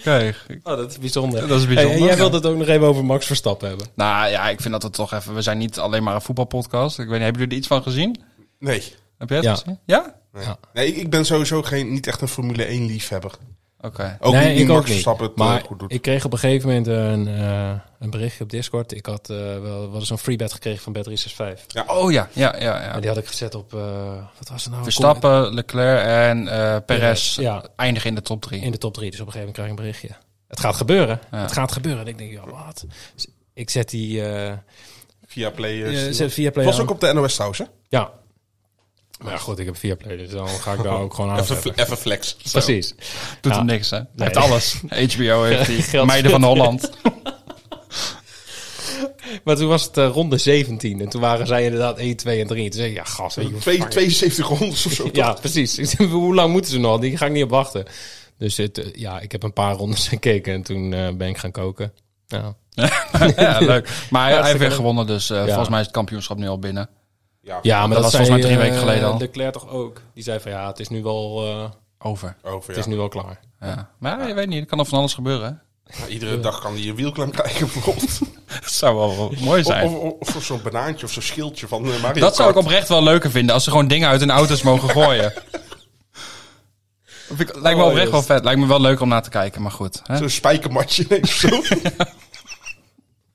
Speaker 6: Kijk.
Speaker 1: Oh, dat is bijzonder.
Speaker 6: Dat is bijzonder.
Speaker 1: Hey, en jij wilde het ook nog even over Max Verstappen hebben.
Speaker 6: Nou ja, ik vind dat het toch even... We zijn niet alleen maar een voetbalpodcast. Ik weet niet, hebben jullie er iets van gezien?
Speaker 7: Nee.
Speaker 6: Heb jij het
Speaker 1: Ja.
Speaker 6: gezien? Ja?
Speaker 7: Nee,
Speaker 1: Ja.
Speaker 7: nee ik, ik ben sowieso geen, niet echt een Formule 1 liefhebber.
Speaker 6: Oké.
Speaker 7: Ook
Speaker 1: nee,
Speaker 7: niet die
Speaker 1: ik ook
Speaker 7: Max
Speaker 1: niet.
Speaker 7: Verstappen het eh,
Speaker 1: maar
Speaker 7: goed doet.
Speaker 1: ik kreeg op een gegeven moment een, eh, een berichtje op Discord. Ik had eh, wel, wel eens een freebet gekregen van Bet365.
Speaker 6: Oh ja, ja, ja. ja.
Speaker 1: En die had ik gezet op, eh, wat was het nou?
Speaker 6: Verstappen, Leclerc en eh Perez
Speaker 1: Ja.
Speaker 6: eindigen in de top drie.
Speaker 1: in de top 3. Dus op een gegeven moment krijg ik een berichtje. Het gaat gebeuren.
Speaker 6: Ja.
Speaker 1: Het gaat gebeuren. En ik denk, ja, wat? Dus ik zet die eh,
Speaker 7: Via Play. eh,
Speaker 1: eh,
Speaker 7: sturen.
Speaker 1: zet via play
Speaker 7: was ook op de NOS trouwens, hè?
Speaker 1: Ja. Maar ja, goed, ik heb via play, dus dan ga ik daar ook gewoon aan. hebben.
Speaker 7: Even, even flex. Zo.
Speaker 1: [LAUGHS] Precies.
Speaker 6: Doet
Speaker 1: Ja.
Speaker 6: hem niks, hè? Hij
Speaker 1: [LAUGHS]
Speaker 6: heeft
Speaker 1: Nee.
Speaker 6: alles.
Speaker 1: [LAUGHS]
Speaker 6: HBO heeft die
Speaker 1: Geld
Speaker 6: Meiden van Holland. [LAUGHS]
Speaker 1: Maar toen was het eh, ronde 17 en toen waren zij inderdaad 1, 2 en 3. En toen zei ik, ja, gast, weet je hoe
Speaker 7: Twee- 72 rondes of
Speaker 1: [LAUGHS]
Speaker 7: zo.
Speaker 1: Ja, precies. [LAUGHS] Ik zei, hoe lang moeten ze nog? Die ga ik niet op wachten. Dus het, eh, ja, ik heb een paar rondes [LAUGHS] gekeken en toen eh, ben ik gaan koken. Ja.
Speaker 6: ja, leuk. Maar hij, hij heeft weer gewonnen, dus eh,
Speaker 1: Ja.
Speaker 6: volgens mij is het kampioenschap nu al binnen.
Speaker 1: ja, maar dat,
Speaker 6: was
Speaker 1: zei,
Speaker 6: volgens mij drie weken
Speaker 1: eh,
Speaker 6: geleden al.
Speaker 1: Leclerc toch ook. Die zei van ja, het is nu wel, eh,
Speaker 6: Over.
Speaker 7: Over,
Speaker 1: het
Speaker 7: ja.
Speaker 1: is nu wel klaar.
Speaker 6: Ja. Maar ja, je weet niet, er kan nog van alles gebeuren.
Speaker 7: Ja, Iedere dag kan hij een wielklem krijgen
Speaker 1: [LAUGHS]
Speaker 7: bijvoorbeeld.
Speaker 6: Dat [LAUGHS] zou wel mooi
Speaker 7: Of,
Speaker 6: zijn.
Speaker 7: of, of, of zo'n banaantje of zo'n schildje van eh, Mario
Speaker 6: dat zou ik
Speaker 7: Kart.
Speaker 6: oprecht wel leuker vinden, als ze gewoon dingen uit hun auto's mogen gooien. Dat [LAUGHS] vind ik- Lijkt me
Speaker 1: Oh,
Speaker 6: oprecht wel
Speaker 1: juist.
Speaker 6: vet. Lijkt me wel leuk om naar te kijken, maar goed. Hè?
Speaker 7: Zo'n spijkermatje [LAUGHS] ineens of zo.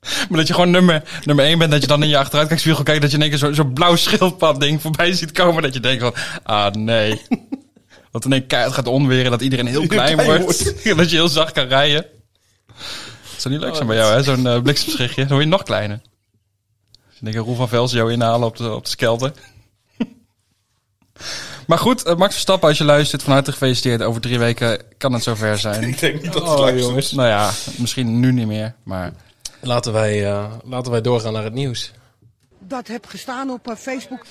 Speaker 6: Maar dat je gewoon nummer, nummer 1 bent, dat je dan in je achteruitkijkspiegel kijkt, dat je in één keer zo- zo'n blauw schildpad ding voorbij ziet komen, dat je denkt van, ah [LAUGHS] nee. Dat in één keer het gaat onweren, dat iedereen heel klein,
Speaker 7: klein
Speaker 6: wordt, [LAUGHS] dat je heel zacht kan rijden. Dat zou niet leuk zijn bij jou, hè, zo'n eh, bliksemschichtje. Dan word je nog kleiner. Dus ik denk, Roel van Vels jou inhalen op de, op de skelter. [LAUGHS] Maar goed, eh, Max Verstappen, als je luistert, van harte gefeliciteerd. Over drie weken kan het zover [LAUGHS] zijn.
Speaker 7: ik denk niet dat het
Speaker 1: Oh,
Speaker 7: luistert.
Speaker 1: jongens.
Speaker 6: Nou ja, misschien nu niet meer, maar...
Speaker 1: Laten wij, eh, laten wij doorgaan naar het nieuws.
Speaker 9: dat heb gestaan op eh, Facebook.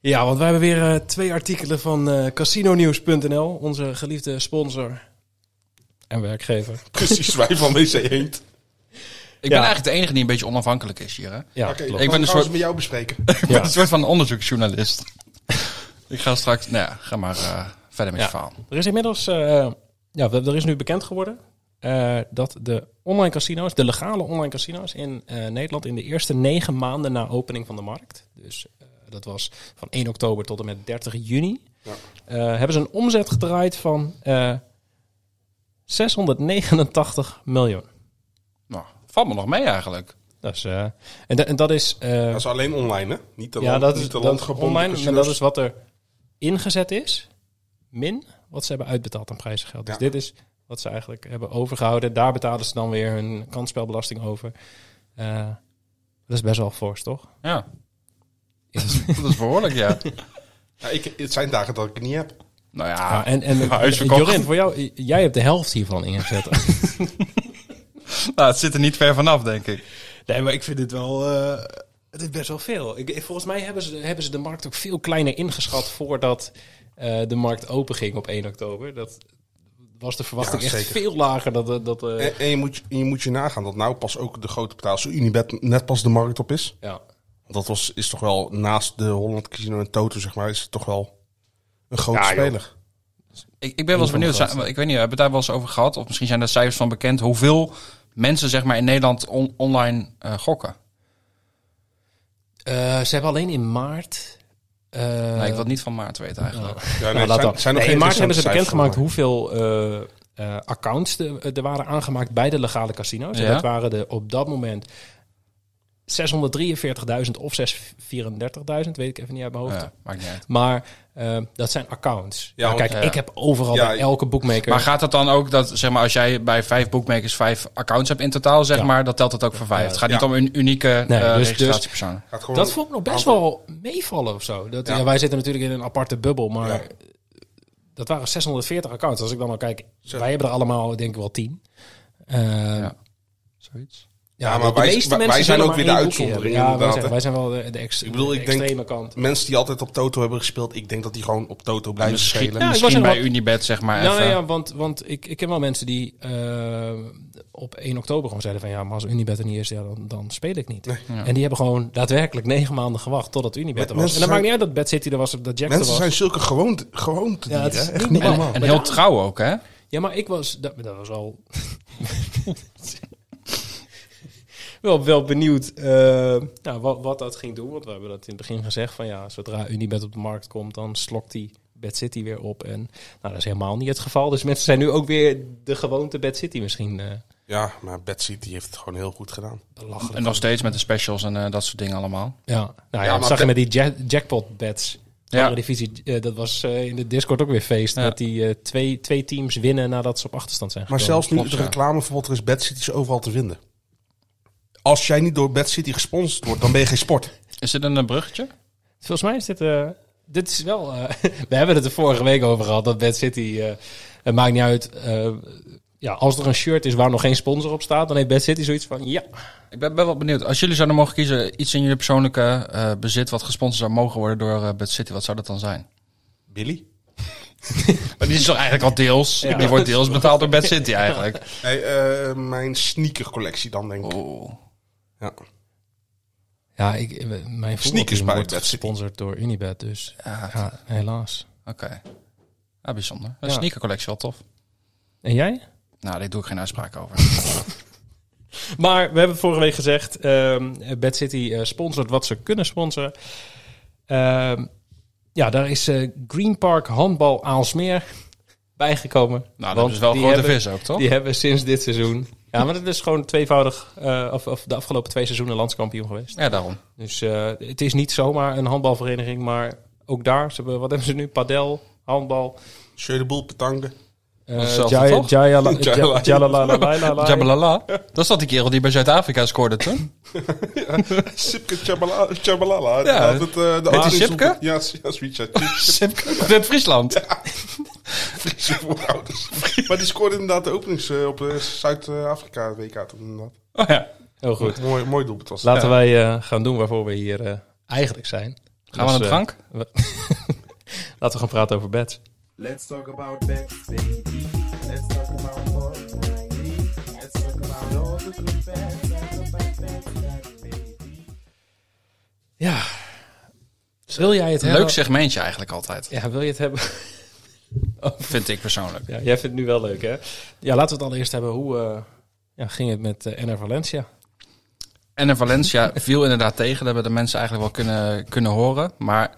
Speaker 1: Ja, want wij hebben weer eh, twee artikelen van eh casinonieuws.nl, onze geliefde sponsor en werkgever.
Speaker 7: Precies, wij van WC Eend.
Speaker 6: Ik
Speaker 1: Ja.
Speaker 6: ben eigenlijk de enige die een beetje onafhankelijk is hier, hè?
Speaker 1: Ja,
Speaker 7: Oké,
Speaker 1: klopt.
Speaker 7: ik ben een soort...
Speaker 6: ze
Speaker 7: met jou bespreken.
Speaker 6: Ik ben
Speaker 1: Ja.
Speaker 6: een soort van onderzoeksjournalist. [LAUGHS] ik ga straks... Nou ja, ga maar eh, verder met
Speaker 1: Ja.
Speaker 6: je verhaal.
Speaker 1: Er is inmiddels, eh, ja, er is nu bekend geworden eh, dat de online casino's, de legale online casino's in eh, Nederland in de eerste negen maanden na opening van de markt, dus eh, dat was van 1 oktober tot en met 30 juni, eh, hebben ze een omzet gedraaid van eh, 689 miljoen.
Speaker 6: Nou, valt me nog mee eigenlijk.
Speaker 1: Dat Dat is, eh, en, da- en dat is... eh,
Speaker 7: Dat is alleen online, hè? Niet de,
Speaker 1: ja,
Speaker 7: land,
Speaker 1: dat
Speaker 7: niet
Speaker 1: is
Speaker 7: de
Speaker 1: dat,
Speaker 7: landgebonden
Speaker 1: online. En
Speaker 7: casinos.
Speaker 1: dat is wat er ingezet is. Min wat ze hebben uitbetaald aan prijzengeld. Dus
Speaker 7: Ja.
Speaker 1: dit is wat ze eigenlijk hebben overgehouden. Daar betalen ze dan weer hun kansspelbelasting over. Eh, dat is best wel fors, toch?
Speaker 6: Ja. dat is behoorlijk, ja.
Speaker 7: Ja, ik, het zijn dagen dat ik het niet heb.
Speaker 6: Nou
Speaker 1: Ja,
Speaker 6: ja,
Speaker 1: en en [LAUGHS]
Speaker 6: huis verkocht.
Speaker 1: Jorin, voor jou, j- jij hebt de helft hiervan ingezet.
Speaker 6: nou, het zit er niet ver vanaf, denk ik.
Speaker 1: nee, maar [LAUGHS] ik vind dit wel... eh, het is best wel veel. Ik, ik- volgens mij hebben ze, hebben ze de markt ook veel kleiner ingeschat... voordat eh, de markt open ging op 1 oktober. Dat was de verwachting
Speaker 7: Ja,
Speaker 1: echt
Speaker 7: zeker.
Speaker 1: veel lager. Dat, eh, dat, eh,
Speaker 7: En, en je, moet, je moet je nagaan dat nou pas ook de grote betaal, zo Unibet net pas de markt op is.
Speaker 1: ja.
Speaker 7: Dat was, is toch wel naast de Holland Casino en Toto, zeg maar, is het toch wel een grote speler.
Speaker 6: Ik, ik ben wel eens
Speaker 1: Een van de
Speaker 6: benieuwd. zijn-
Speaker 1: grootste.
Speaker 6: ik weet niet, hebben we het daar wel eens over gehad? Of misschien zijn er cijfers van bekend. Hoeveel mensen zeg maar in Nederland on- online eh, gokken?
Speaker 1: Eh, ze hebben alleen in maart. eh,
Speaker 6: nee, ik wil het niet van maart weten eigenlijk.
Speaker 7: Ja, nee,
Speaker 1: nou, laat
Speaker 7: zijn-
Speaker 1: dan.
Speaker 7: zijn nog
Speaker 1: Nee,
Speaker 7: geen
Speaker 1: in maart hebben ze
Speaker 7: interessante
Speaker 1: bekendgemaakt
Speaker 7: cijfers
Speaker 1: hoeveel eh, eh, accounts de- er waren aangemaakt bij de legale casino's. En
Speaker 6: Ja.
Speaker 1: dat waren er op dat moment 643.000 of 634.000, weet ik even niet uit mijn hoofd.
Speaker 6: Ja, maakt niet uit.
Speaker 1: Maar eh, dat zijn accounts.
Speaker 7: Ja,
Speaker 1: Nou,
Speaker 7: want-
Speaker 1: kijk,
Speaker 6: ja.
Speaker 1: ik heb overal
Speaker 7: Ja,
Speaker 1: bij elke boekmaker.
Speaker 6: Maar gaat dat dan ook dat, zeg maar, als jij bij vijf bookmakers vijf accounts hebt in totaal, zeg
Speaker 1: Ja.
Speaker 6: maar, dat telt het ook voor vijf? Het gaat niet
Speaker 7: Ja.
Speaker 6: om een unieke
Speaker 1: Nee,
Speaker 6: eh,
Speaker 1: dus- dus-
Speaker 6: registratiepersoon.
Speaker 7: Gaat gewoon-
Speaker 1: dat vond ik nog best
Speaker 7: aantal-
Speaker 1: wel meevallen of zo. Dat,
Speaker 7: Ja.
Speaker 1: ja. wij zitten natuurlijk in een aparte bubbel, maar
Speaker 7: Ja.
Speaker 1: dat waren 640 accounts. Als ik dan al kijk, wij hebben er allemaal denk ik wel 10. Eh, ja.
Speaker 6: Zoiets.
Speaker 7: Ja, maar wij- wij- wij zijn
Speaker 1: zullen
Speaker 7: ook
Speaker 1: maar
Speaker 7: weer de
Speaker 1: één
Speaker 7: uitzondering,
Speaker 1: boekje hebben. Ja, wij
Speaker 7: inderdaad,
Speaker 1: zijn,
Speaker 7: hè?
Speaker 1: wij zijn wel de, de, ex-
Speaker 7: Ik bedoel,
Speaker 1: de
Speaker 7: ik denk-
Speaker 1: extreme kant.
Speaker 7: Mensen die altijd op Toto hebben gespeeld, ik denk dat die gewoon op Toto blijven
Speaker 6: Misschien,
Speaker 7: spelen.
Speaker 1: Ja, ik was
Speaker 6: misschien
Speaker 1: er
Speaker 6: bij
Speaker 1: wel-
Speaker 6: Unibet, zeg maar.
Speaker 1: Nou
Speaker 6: even.
Speaker 1: ja, want, want ik, ik ken wel mensen die eh, op 1 oktober gewoon zeiden van... ja, maar als Unibet er niet is, ja, dan, dan speel ik niet. En die hebben gewoon daadwerkelijk negen maanden gewacht totdat Unibet er was. En
Speaker 7: mensen
Speaker 1: dat
Speaker 7: zijn-
Speaker 1: maakt niet uit dat Bad City er was of dat Jack er
Speaker 7: Mensen
Speaker 1: was.
Speaker 7: zijn zulke gewoonte, gewoonte
Speaker 1: Ja, het is
Speaker 7: dieren, hè? echt
Speaker 1: niet
Speaker 7: niet
Speaker 1: normaal.
Speaker 7: normaal.
Speaker 6: En heel trouw ook, hè?
Speaker 1: Ja, maar ik was... Dat, dat was al... [LAUGHS] wel, wel benieuwd eh, nou, wat, wat dat ging doen. Want we hebben dat in het begin gezegd. Van ja, zodra Unibet op de markt komt, dan slokt die Bad City weer op. En nou, dat is helemaal niet het geval. Dus mensen zijn nu ook weer de gewoonte Bad City misschien eh
Speaker 7: Ja, maar Bad City heeft het gewoon heel goed gedaan.
Speaker 1: belachelijk.
Speaker 6: En nog steeds met de specials en eh, dat soort dingen allemaal.
Speaker 1: Ja, nou ja,
Speaker 7: Ja,
Speaker 1: dat
Speaker 7: maar
Speaker 1: zag je
Speaker 7: Bad-
Speaker 1: met die ja- jackpot bets.
Speaker 6: Ja.
Speaker 1: Andere divisie, eh, dat was eh, in de Discord ook weer feest.
Speaker 6: Ja.
Speaker 1: Dat die eh, twee, twee teams winnen nadat ze op achterstand zijn
Speaker 7: Maar
Speaker 1: gekomen.
Speaker 7: zelfs nu
Speaker 6: klopt,
Speaker 7: het
Speaker 6: ja.
Speaker 7: reclameverbod er is, Bad City is overal te vinden. Als jij niet door Bad City gesponsord wordt, dan ben je geen sport.
Speaker 6: Is dit een eh, bruggetje?
Speaker 1: Volgens mij is dit. eh, dit is wel. eh, [LAUGHS] we hebben het er vorige week over gehad. Dat Bad City. eh, het maakt niet uit. eh, ja, als er een shirt is waar nog geen sponsor op staat. dan heeft Bad City zoiets van. Ja.
Speaker 6: Ik ben, ben wel benieuwd. Als jullie zouden mogen kiezen iets in jullie persoonlijke eh, bezit wat gesponsord zou mogen worden door eh Bad City, wat zou dat dan zijn?
Speaker 7: Billy?
Speaker 6: Maar die is toch eigenlijk al deels?
Speaker 1: Ja.
Speaker 6: Die wordt deels betaald door Bad City eigenlijk.
Speaker 7: Nee, eh, mijn sneakercollectie dan, denk ik.
Speaker 6: Oh.
Speaker 7: Ja.
Speaker 1: Ja, ik, eh, mijn
Speaker 7: Sneakers
Speaker 1: voetbalteam
Speaker 7: bij
Speaker 1: wordt
Speaker 7: Bad City.
Speaker 1: gesponsord door Unibet. Dus
Speaker 6: Ja,
Speaker 1: ja, helaas.
Speaker 6: Oké. Ja, bijzonder. Een
Speaker 1: Ja.
Speaker 6: sneakercollectie, wel tof.
Speaker 1: En jij?
Speaker 6: Nou, daar doe ik geen uitspraak over.
Speaker 1: Maar we hebben vorige week gezegd, ehm Bad City eh, sponsort wat ze kunnen sponsoren. Ehm, ja, daar is eh, Green Park Handbal Aalsmeer bijgekomen.
Speaker 6: [LAUGHS] nou, dat
Speaker 1: Want
Speaker 6: is wel een
Speaker 1: die
Speaker 6: grote
Speaker 1: hebben-
Speaker 6: vis ook, toch?
Speaker 1: Die hebben sinds dit seizoen... Ja, maar dat is gewoon tweevoudig, eh, of, of de afgelopen twee seizoenen landskampioen geweest.
Speaker 6: Ja, daarom.
Speaker 1: Dus eh, het is niet zomaar een handbalvereniging, maar ook daar, ze hebben, wat hebben ze nu? Padel, handbal,
Speaker 7: Schöne boel, petanken.
Speaker 1: eh,
Speaker 6: Hetzelfde,
Speaker 1: Jaya-
Speaker 6: toch?
Speaker 1: Jaya-
Speaker 6: [LAUGHS]
Speaker 1: la-
Speaker 7: Jaya-
Speaker 1: Ja- Jalalalalalala.
Speaker 6: Jabalala. Dat is dat die kerel die bij Zuid-Afrika scoorde toen.
Speaker 1: [LAUGHS]
Speaker 7: Sipke Tjabala- Tjabalala.
Speaker 6: Ja.
Speaker 7: Ja, het, eh, de
Speaker 6: die
Speaker 7: openingsroep-
Speaker 6: Sipke?
Speaker 7: Ja, s- ja sweet
Speaker 6: Uit Friesland.
Speaker 7: Friese voorouders. maar die scoorde inderdaad de openings eh, op eh, Zuid-Afrika WK toen inderdaad.
Speaker 6: Oh ja.
Speaker 1: Heel goed.
Speaker 7: Mooi, mooi doelpunt was het.
Speaker 1: Laten wij eh, gaan doen waarvoor we hier eh, eigenlijk zijn.
Speaker 6: Gaan we aan de
Speaker 1: eh,
Speaker 6: drank?
Speaker 1: we- Laten we gaan praten over bed.
Speaker 10: Let's talk about bets, baby. Let's talk about money. Let's talk about all the good bets. Talk about bets, that baby.
Speaker 1: Ja. Wil jij het hebben?
Speaker 6: Leuk segmentje eigenlijk altijd.
Speaker 1: Ja, wil je het hebben?
Speaker 6: Vind ik persoonlijk.
Speaker 1: Ja, jij vindt het nu wel leuk, hè? Ja, laten we het allereerst hebben. Hoe eh, ja, ging het met eh NR Valencia?
Speaker 6: En in Valencia viel inderdaad tegen. Dat hebben de mensen eigenlijk wel kunnen, kunnen horen. Maar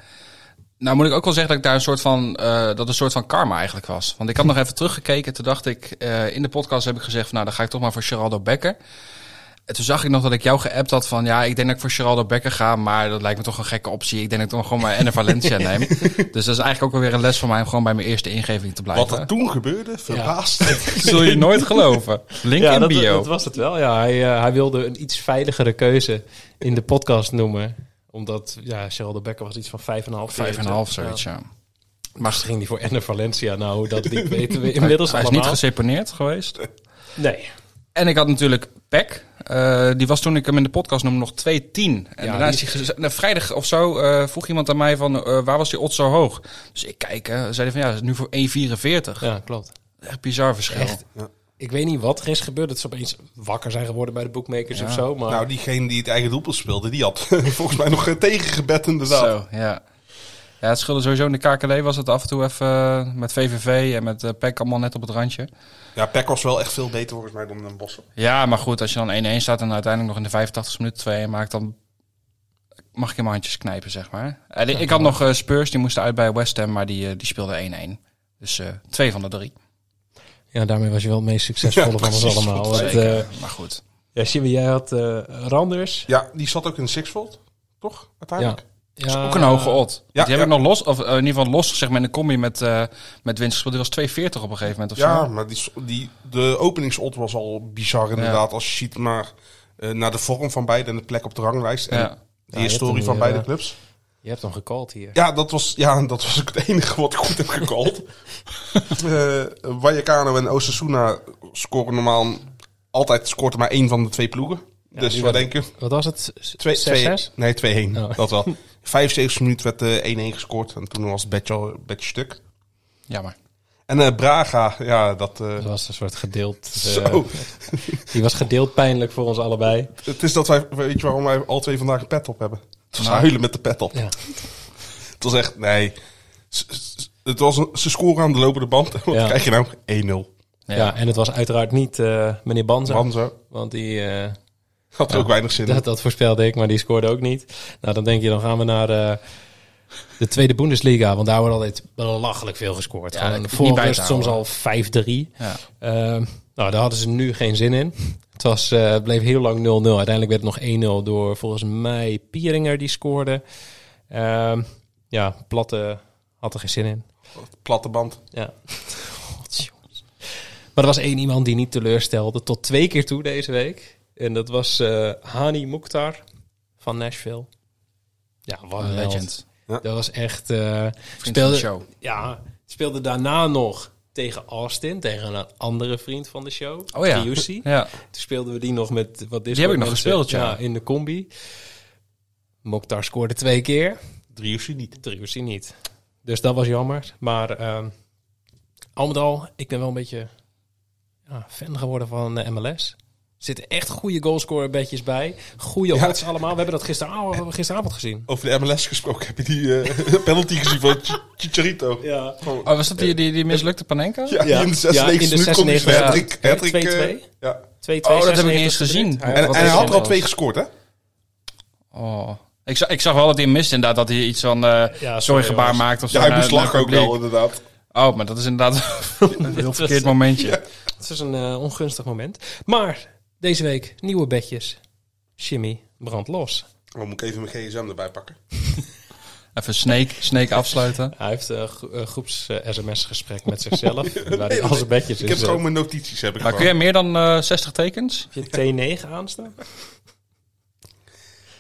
Speaker 6: nou moet ik ook wel zeggen dat ik daar een soort van, eh, dat een soort van karma eigenlijk was. Want ik had nog even teruggekeken. Toen dacht ik, eh, in de podcast heb ik gezegd, van, nou dan ga ik toch maar voor Geraldo Becker. En toen zag ik nog dat ik jou geappt had van... ja, ik denk dat ik voor Geraldo Becker ga... maar dat lijkt me toch een gekke optie. Ik denk dat ik dan gewoon maar Enne Valencia
Speaker 1: [LAUGHS]
Speaker 6: neem. Dus dat is eigenlijk ook wel weer een les voor mij... om gewoon bij mijn eerste ingeving te blijven.
Speaker 7: Wat er toen gebeurde, verbaasd.
Speaker 6: Zul je nooit geloven. Link
Speaker 1: ja,
Speaker 6: in
Speaker 1: dat,
Speaker 6: bio.
Speaker 1: dat was het wel. Ja, hij, eh, hij wilde een iets veiligere keuze in de podcast noemen. Omdat, ja, Geraldo Becker was iets van 5,5.
Speaker 6: Vijf en een half, zoiets, ja.
Speaker 1: Maar ging hij voor Enne Valencia. Nou, hoe dat
Speaker 6: [LAUGHS]
Speaker 1: liep weten we inmiddels
Speaker 6: Hij is
Speaker 1: allemaal.
Speaker 6: niet geseponeerd geweest.
Speaker 1: Nee.
Speaker 6: En ik had natuurlijk Peck. Eh, die was toen ik hem in de podcast noemde nog 2-10. En daarna is hij gez- nou, vrijdag of zo eh, vroeg iemand aan mij van eh, waar was die odds zo hoog? Dus ik kijk, eh, zei hij van ja, dat is nu voor 1,44.
Speaker 1: Ja, klopt.
Speaker 6: Echt bizar verschil.
Speaker 1: Echt. Ik weet niet wat er is gebeurd. Dat ze opeens wakker zijn geworden bij de bookmakers of zo. Maar
Speaker 7: Nou, diegene die het eigen doelpunt speelde, die had [LAUGHS] volgens mij nog eh, tegengebed inderdaad.
Speaker 6: Zo, ja. Ja, het scheelde sowieso in de KKD E was het af en toe even eh, met VVV en met eh Peck allemaal net op het randje.
Speaker 7: Ja, Peck was wel echt veel beter volgens mij dan Den Bossen.
Speaker 6: Ja, maar goed, als je dan 1-1 staat en uiteindelijk nog in de 85 minuten 2 maakt, dan mag ik in mijn handjes knijpen, zeg maar. En ik, ik had nog eh, Spurs, die moesten uit bij West Ham, maar die, eh, die speelde 1-1. Dus eh, twee van de drie.
Speaker 1: ja, daarmee was je wel het meest succesvolle
Speaker 7: Ja,
Speaker 1: van ons
Speaker 7: precies,
Speaker 1: allemaal.
Speaker 7: goed,
Speaker 1: Want,
Speaker 6: Zeker.
Speaker 1: eh,
Speaker 6: maar goed.
Speaker 1: ja, Jimmy, jij had eh, Randers.
Speaker 7: Ja, die zat ook in Sixfold, toch? Uiteindelijk.
Speaker 6: Dat is ook een hoge odd.
Speaker 7: eh, ja,
Speaker 6: die heb
Speaker 7: ja.
Speaker 6: ik nog los, of eh, in ieder geval los zeg maar in de combi met, eh met winst gespeeld. Die was 2,40 op een gegeven moment of
Speaker 7: Ja,
Speaker 6: zo.
Speaker 7: maar die, die, de openingsot was al bizar inderdaad. Als je ziet maar eh, naar de vorm van beide en de plek op de ranglijst. En
Speaker 6: Ja.
Speaker 7: de
Speaker 1: Ja, je hebt
Speaker 7: historie
Speaker 1: hem
Speaker 7: van
Speaker 1: hier,
Speaker 7: beide
Speaker 1: eh,
Speaker 7: clubs.
Speaker 1: Je hebt hem gecalled hier.
Speaker 7: Ja, dat was, ja, [LAUGHS] dat was ook het enige wat ik goed heb
Speaker 1: [LAUGHS]
Speaker 7: gekald. Eh Vallecano en Osasuna scoren normaal... Altijd scoort er maar één van de twee ploegen. dus
Speaker 1: die
Speaker 7: we
Speaker 1: werd-
Speaker 7: denken...
Speaker 1: Wat was het? S-
Speaker 7: 2
Speaker 1: 6-6?
Speaker 7: 2 Nee, 2-1.
Speaker 1: Oh. [LAUGHS]
Speaker 7: Dat wel. 75 minuut werd eh, 1-1 gescoord. En toen was het bedje, al- bedje stuk.
Speaker 6: Jammer.
Speaker 7: En eh, Braga, ja, dat... eh,
Speaker 1: Dat was een soort gedeeld... eh,
Speaker 7: [LAUGHS] zo.
Speaker 1: die was gedeeld pijnlijk voor ons allebei.
Speaker 7: Het is dat wij, weet je waarom wij al twee vandaag een pet op hebben? Het was
Speaker 6: Nou.
Speaker 7: huilen met de pet op.
Speaker 1: Ja.
Speaker 7: Het was echt, nee. S- s- Het was een, ze scoren aan de lopende band. [LAUGHS] Wat
Speaker 1: Ja.
Speaker 7: krijg je nou? 1-0.
Speaker 1: Ja. en het was uiteraard niet eh, meneer Banza.
Speaker 7: Manzo.
Speaker 1: Want die, eh,
Speaker 7: Had er ook weinig zin in.
Speaker 1: dat, dat voorspelde ik, maar die scoorde ook niet. Nou, dan denk je, dan gaan we naar eh, de tweede Bundesliga. Want daar wordt altijd belachelijk veel gescoord.
Speaker 6: Ja,
Speaker 1: Gewoon
Speaker 6: dat kan je
Speaker 1: voor
Speaker 6: niet bij
Speaker 1: rust
Speaker 6: te
Speaker 1: soms al
Speaker 6: houden.
Speaker 1: 5-3.
Speaker 6: Ja.
Speaker 1: Ehm, nou, daar hadden ze nu geen zin in. Het was, eh, het bleef heel lang 0-0. Uiteindelijk werd het nog 1-0 door volgens mij Pieringer die scoorde. Ehm, ja, Platte had er geen zin in.
Speaker 7: Platte band.
Speaker 1: Ja. Maar er was één iemand die niet teleurstelde. Tot twee keer toe deze week. En dat was eh, Hani Mukhtar van Nashville. Ja, wat een held.
Speaker 6: legend.
Speaker 1: Dat was echt... eh,
Speaker 6: Vriend van de
Speaker 1: speelde-
Speaker 6: show.
Speaker 1: ja, speelde daarna nog tegen Austin, tegen een andere vriend van de show.
Speaker 6: Oh ja.
Speaker 1: Giussi.
Speaker 6: Ja.
Speaker 1: Toen speelden we die nog met wat is
Speaker 6: heb ik nog gespeeld, ja.
Speaker 1: In de combi. Mokhtar scoorde twee keer.
Speaker 7: Driusje niet.
Speaker 1: Driussi niet. Dus dat was jammer. Maar ehm al met al, ik ben wel een beetje ja, fan geworden van eh, de MLS. Er zitten echt goede goalscorer bedjes bij. Goede
Speaker 7: Ja.
Speaker 1: odds allemaal. We hebben dat gisteravond, gisteravond gezien.
Speaker 7: Over de MLS gesproken heb je die eh, [LAUGHS] penalty gezien van Ch- Chicharito. Ja,
Speaker 1: Ja.
Speaker 6: Oh, was dat die, die, die mislukte Panenka?
Speaker 1: Ja.
Speaker 7: die in de
Speaker 1: Ja, in de
Speaker 7: 96 minuut komt hij
Speaker 1: 96,
Speaker 7: zijn
Speaker 1: ja.
Speaker 7: hat-trick- hat-trick, eh,
Speaker 1: 2-2.
Speaker 7: ja.
Speaker 1: 2
Speaker 6: Oh, dat heb ik niet eens gezien.
Speaker 7: En, en
Speaker 6: Wat
Speaker 7: hij
Speaker 6: is
Speaker 7: had er al
Speaker 6: dat?
Speaker 7: twee gescoord, hè?
Speaker 6: Oh. Ik, zag, ik zag wel dat hij hem miste inderdaad. Dat hij iets van eh
Speaker 1: Ja,
Speaker 6: sorry gebaar
Speaker 1: jongens.
Speaker 6: maakt of zo.
Speaker 7: Ja, hij
Speaker 6: naar-
Speaker 7: moest
Speaker 6: naar het
Speaker 7: lachen ook
Speaker 6: publiek.
Speaker 7: wel, inderdaad.
Speaker 6: Oh, maar dat is inderdaad [LAUGHS]
Speaker 1: [LAUGHS]
Speaker 6: een heel verkeerd momentje.
Speaker 1: Het is een eh, ongunstig moment. Maar deze week nieuwe bedjes. Jimmy brandt los.
Speaker 7: Dan Oh, moet ik even mijn gsm erbij pakken.
Speaker 6: Even Snake, snake afsluiten.
Speaker 1: Hij heeft eh, een eh, groeps-sms-gesprek met
Speaker 7: [LAUGHS]
Speaker 1: zichzelf. waar hij al zijn bedjes
Speaker 7: Ik
Speaker 1: in
Speaker 7: heb
Speaker 1: zet.
Speaker 7: gewoon mijn notities, heb ik
Speaker 6: Maar kun
Speaker 7: gewoon. [LAUGHS]
Speaker 6: jij meer dan eh 60 tekens?
Speaker 1: Heb je T9 aanstaan?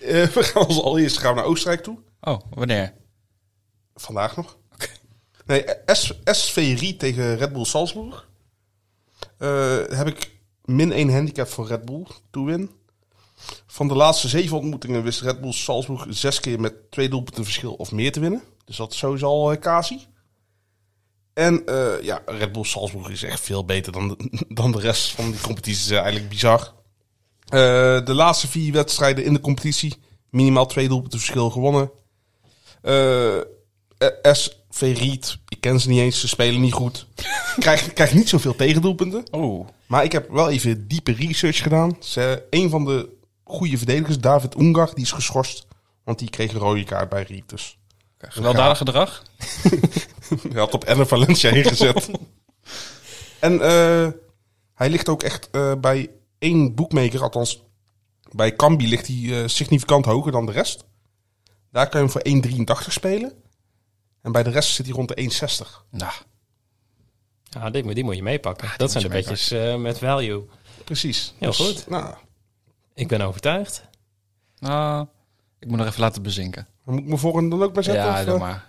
Speaker 7: Eh, we gaan als allereerst gaan we naar Oostenrijk toe.
Speaker 6: Oh, wanneer?
Speaker 7: Vandaag nog. Nee, S SV Rie tegen Red Bull Salzburg. Eh, heb ik min 1 handicap voor Red Bull to win. Van de laatste zeven ontmoetingen wist Red Bull Salzburg zes keer met twee doelpunten verschil of meer te winnen. Dus dat is sowieso al eh, Kasi. En eh, ja, Red Bull Salzburg is echt veel beter dan de, [LAUGHS] dan de rest van die competitie. Dat is eigenlijk bizar. Eh, de laatste vier wedstrijden in de competitie minimaal twee doelpunten verschil gewonnen. Eh, eh, SV Riet, ik ken ze niet eens, ze spelen niet goed. Krijg, krijg niet zoveel tegendoelpunten.
Speaker 6: Oeh.
Speaker 7: Maar ik heb wel even diepe research gedaan. Ze, een van de goede verdedigers, David Ungar, die is geschorst. Want die kreeg een rode kaart bij Riet. Dus
Speaker 6: Gewelddadig gedrag?
Speaker 7: hij had op Enne Valencia [LAUGHS] ingezet. en eh, hij ligt ook echt eh, bij één boekmaker, althans Bij Kambi ligt hij eh, significant hoger dan de rest. Daar kan je hem voor 1,83 spelen. En bij de rest zit hij rond de 1,60.
Speaker 6: Nou,
Speaker 1: Ja, dit, moet- Ah, die moet je meepakken. dat zijn de
Speaker 6: moet je
Speaker 1: bedjes eh, met value.
Speaker 7: Precies.
Speaker 1: Heel goed.
Speaker 7: Nou,
Speaker 1: Ik ben overtuigd.
Speaker 6: nou, ik moet nog even laten bezinken.
Speaker 7: dan moet ik me voor hem dan ook bij zetten?
Speaker 6: ja,
Speaker 7: of,
Speaker 6: doe
Speaker 7: eh?
Speaker 6: maar.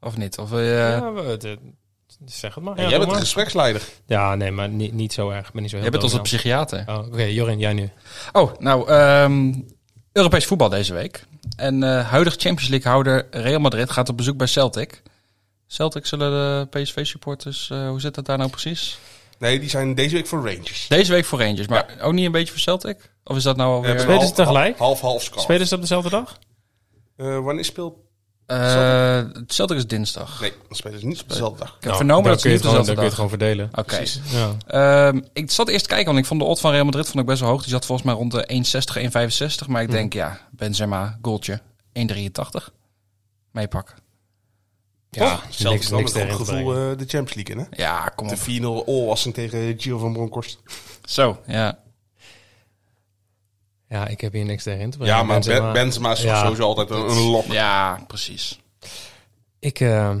Speaker 6: Of niet? Of, wil
Speaker 1: Ja,
Speaker 6: je
Speaker 1: we- het, eh, zeg het maar.
Speaker 7: Ja,
Speaker 1: Ja, doe
Speaker 7: jij bent de
Speaker 1: maar.
Speaker 7: gespreksleider.
Speaker 1: Ja, nee, maar niet, niet zo erg. Ik ben niet zo heel
Speaker 6: jij bent onze
Speaker 1: dominant.
Speaker 6: psychiater.
Speaker 1: Oh, Oké, Jorin, jij nu.
Speaker 6: Oh, nou, ehm, Europees voetbal deze week. En eh, huidig Champions League houder Real Madrid gaat op bezoek bij Celtic. Celtic zullen de PSV-supporters, eh, hoe zit dat daar nou precies?
Speaker 7: Nee, die zijn deze week voor Rangers.
Speaker 6: Deze week voor Rangers, maar ook niet een beetje voor Celtic? Of is dat nou
Speaker 7: We hebben
Speaker 6: alweer...
Speaker 7: een
Speaker 1: Spelen ze
Speaker 7: half-
Speaker 1: tegelijk?
Speaker 7: Half, half score.
Speaker 1: Spelen ze op dezelfde dag?
Speaker 7: Eh, wanneer speelt...
Speaker 6: Eh, Celtic is dinsdag.
Speaker 7: Nee, dan spelen ze niet op dezelfde dag.
Speaker 6: Ik heb vernomen
Speaker 1: dan
Speaker 6: dat ze
Speaker 1: Nou, kun je
Speaker 6: niet
Speaker 1: het gewoon,
Speaker 6: dezelfde
Speaker 1: dan kun je het
Speaker 6: dag...
Speaker 1: gewoon verdelen.
Speaker 6: Oké.
Speaker 1: Ja.
Speaker 6: Ehm, ik zat eerst te kijken, want ik vond de odd van Real Madrid vond ik best wel hoog. Die zat volgens mij rond de 1,60, 1,65. Maar ik
Speaker 1: Hm.
Speaker 6: denk, ja, Benzema, goaltje, 1,83. Meepakken.
Speaker 1: Ja,
Speaker 7: Toch?
Speaker 1: niks,
Speaker 7: dan
Speaker 1: niks
Speaker 7: met goed
Speaker 1: tegen te
Speaker 7: gevoel
Speaker 1: brengen.
Speaker 7: eh, de Champions League in, hè?
Speaker 6: Ja, kom op.
Speaker 7: De 4-0 all-wassing tegen Gio van Bronckhorst.
Speaker 6: Zo. Ja.
Speaker 1: Ja, ik heb hier niks tegen in te brengen.
Speaker 7: Ja, maar Benzema,
Speaker 1: Benzema.
Speaker 7: Benzema is toch
Speaker 1: Ja.
Speaker 7: sowieso altijd een, een lok.
Speaker 6: Ja, precies.
Speaker 1: Ik eh,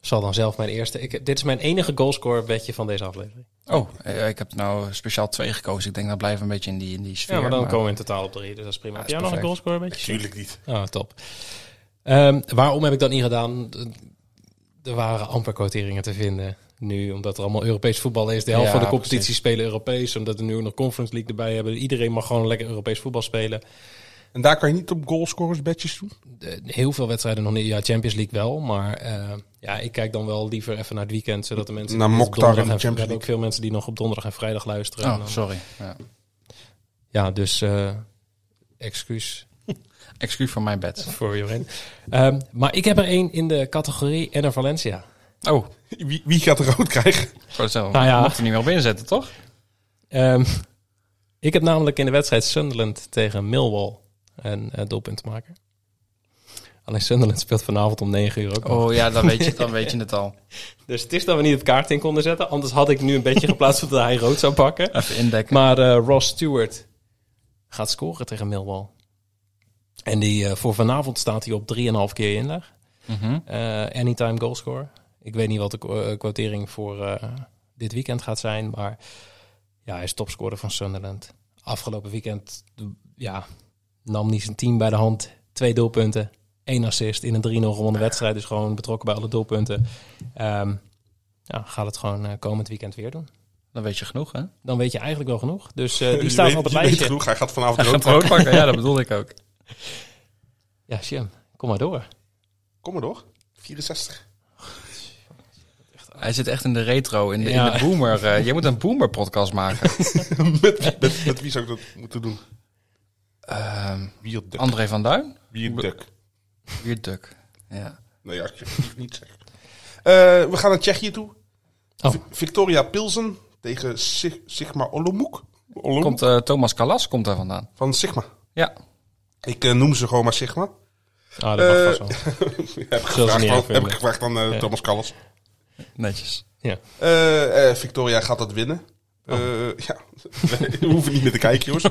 Speaker 1: zal dan zelf mijn eerste... Ik, dit is mijn enige goalscore bedje van deze aflevering.
Speaker 6: Oh, eh, ik heb nou speciaal twee gekozen. Ik denk dat blijven we een beetje in die, in die sfeer.
Speaker 1: Ja, maar dan komen we in totaal op drie, dus dat is prima. heb jij nog een
Speaker 6: perfect.
Speaker 1: goalscore bedje?
Speaker 7: Tuurlijk niet.
Speaker 1: Ah, top. Ehm, waarom heb ik dat niet gedaan? Er waren amper quoteringen te vinden nu, omdat er allemaal Europees voetbal is. De helft
Speaker 6: Ja,
Speaker 1: van de competitie
Speaker 6: precies.
Speaker 1: spelen Europees, omdat we nu ook nog Conference League erbij hebben. Iedereen mag gewoon lekker Europees voetbal spelen.
Speaker 7: En daar kan je niet op goalscorers bedjes doen?
Speaker 1: De- heel veel wedstrijden nog niet. Ja, Champions League wel, maar eh, ja, ik kijk dan wel liever even naar het weekend, zodat de mensen...
Speaker 7: Naar
Speaker 1: die op
Speaker 7: Mokhtar en
Speaker 1: donderdag
Speaker 7: de
Speaker 1: en-
Speaker 7: Champions
Speaker 1: we hebben ook
Speaker 7: League.
Speaker 1: veel mensen die nog op donderdag en vrijdag luisteren. En
Speaker 6: Oh,
Speaker 1: dan-
Speaker 6: sorry. Ja.
Speaker 1: ja, dus eh, excuus.
Speaker 6: Excuus voor mijn bed.
Speaker 1: voor Jorin. Ehm, maar ik heb er één in de categorie Enner Valencia.
Speaker 6: Oh,
Speaker 7: Wie, wie gaat er rood krijgen?
Speaker 6: voor zo.
Speaker 1: Nou ja.
Speaker 6: Mocht er niet meer op inzetten, toch?
Speaker 1: Ehm, ik heb namelijk in de wedstrijd Sunderland tegen Millwall een eh, doelpunt te maken. Alleen Sunderland speelt vanavond om 9 uur ook. nog.
Speaker 6: Oh ja, dan weet je, dan weet je het al.
Speaker 1: Dus het is dat we niet het kaart in konden zetten. Anders had ik nu een beetje geplaatst [LAUGHS] dat hij rood zou pakken.
Speaker 6: Even indekken.
Speaker 1: Maar eh, Ross Stewart gaat scoren tegen Millwall. En die, eh, voor vanavond staat hij op 3,5 keer inleg.
Speaker 6: Mhm.
Speaker 1: Eh, anytime goalscore. Ik weet niet wat de qu- eh, quotering voor eh, dit weekend gaat zijn. Maar ja, hij is topscorer van Sunderland. Afgelopen weekend ja, nam hij zijn team bij de hand. Twee doelpunten, één assist in een 3-0 gewonnen wedstrijd. Dus gewoon betrokken bij alle doelpunten. Ehm, ja, gaat het gewoon eh, komend weekend weer doen.
Speaker 6: Dan weet je genoeg, hè?
Speaker 1: Dan weet je eigenlijk wel genoeg. Dus
Speaker 6: [LAUGHS]
Speaker 1: eh, die
Speaker 7: Je
Speaker 1: staat
Speaker 7: weet-
Speaker 1: op het
Speaker 7: je weet
Speaker 1: lijstje.
Speaker 7: genoeg, hij gaat vanavond
Speaker 6: Hij
Speaker 7: rood
Speaker 6: gaat
Speaker 7: pakken.
Speaker 6: rood pakken. Ja, dat bedoelde ik ook.
Speaker 1: Ja, Sjem, kom maar door.
Speaker 7: Kom maar door. 64.
Speaker 6: Hij zit echt in de retro, in de, in
Speaker 1: Ja.
Speaker 6: de boomer. eh, jij moet een boomer-podcast maken.
Speaker 7: [LAUGHS] met, wie- met, met wie zou ik dat moeten doen?
Speaker 6: Ehm,
Speaker 7: Wierduk.
Speaker 6: André van Duin?
Speaker 7: Wierduk.
Speaker 6: Weer Duk. Ja.
Speaker 7: Nee, alsjeblieft niet zeggen. [LAUGHS] Eh, we gaan naar Tsjechië toe.
Speaker 1: Oh.
Speaker 7: Vi- Victoria Pilsen tegen Sig- Sigma Olomouc. Olomouc?
Speaker 6: Komt, eh, Thomas Kalas komt daar vandaan.
Speaker 7: Van Sigma.
Speaker 6: Ja.
Speaker 7: Ik eh, noem ze gewoon maar Sigma.
Speaker 1: Ah, dat mag
Speaker 7: Eh,
Speaker 1: vast wel.
Speaker 7: heb, ik
Speaker 1: Zullen ze
Speaker 7: gevraagd
Speaker 1: niet erg
Speaker 7: aan, heb ik
Speaker 1: vinden.
Speaker 7: gevraagd aan eh, Thomas Callas.
Speaker 6: Netjes.
Speaker 7: Eh, eh, Victoria gaat dat winnen.
Speaker 1: Oh.
Speaker 7: Eh, [LAUGHS] ja, we hoeven niet meer te kijken,
Speaker 1: [LAUGHS]
Speaker 7: jongens.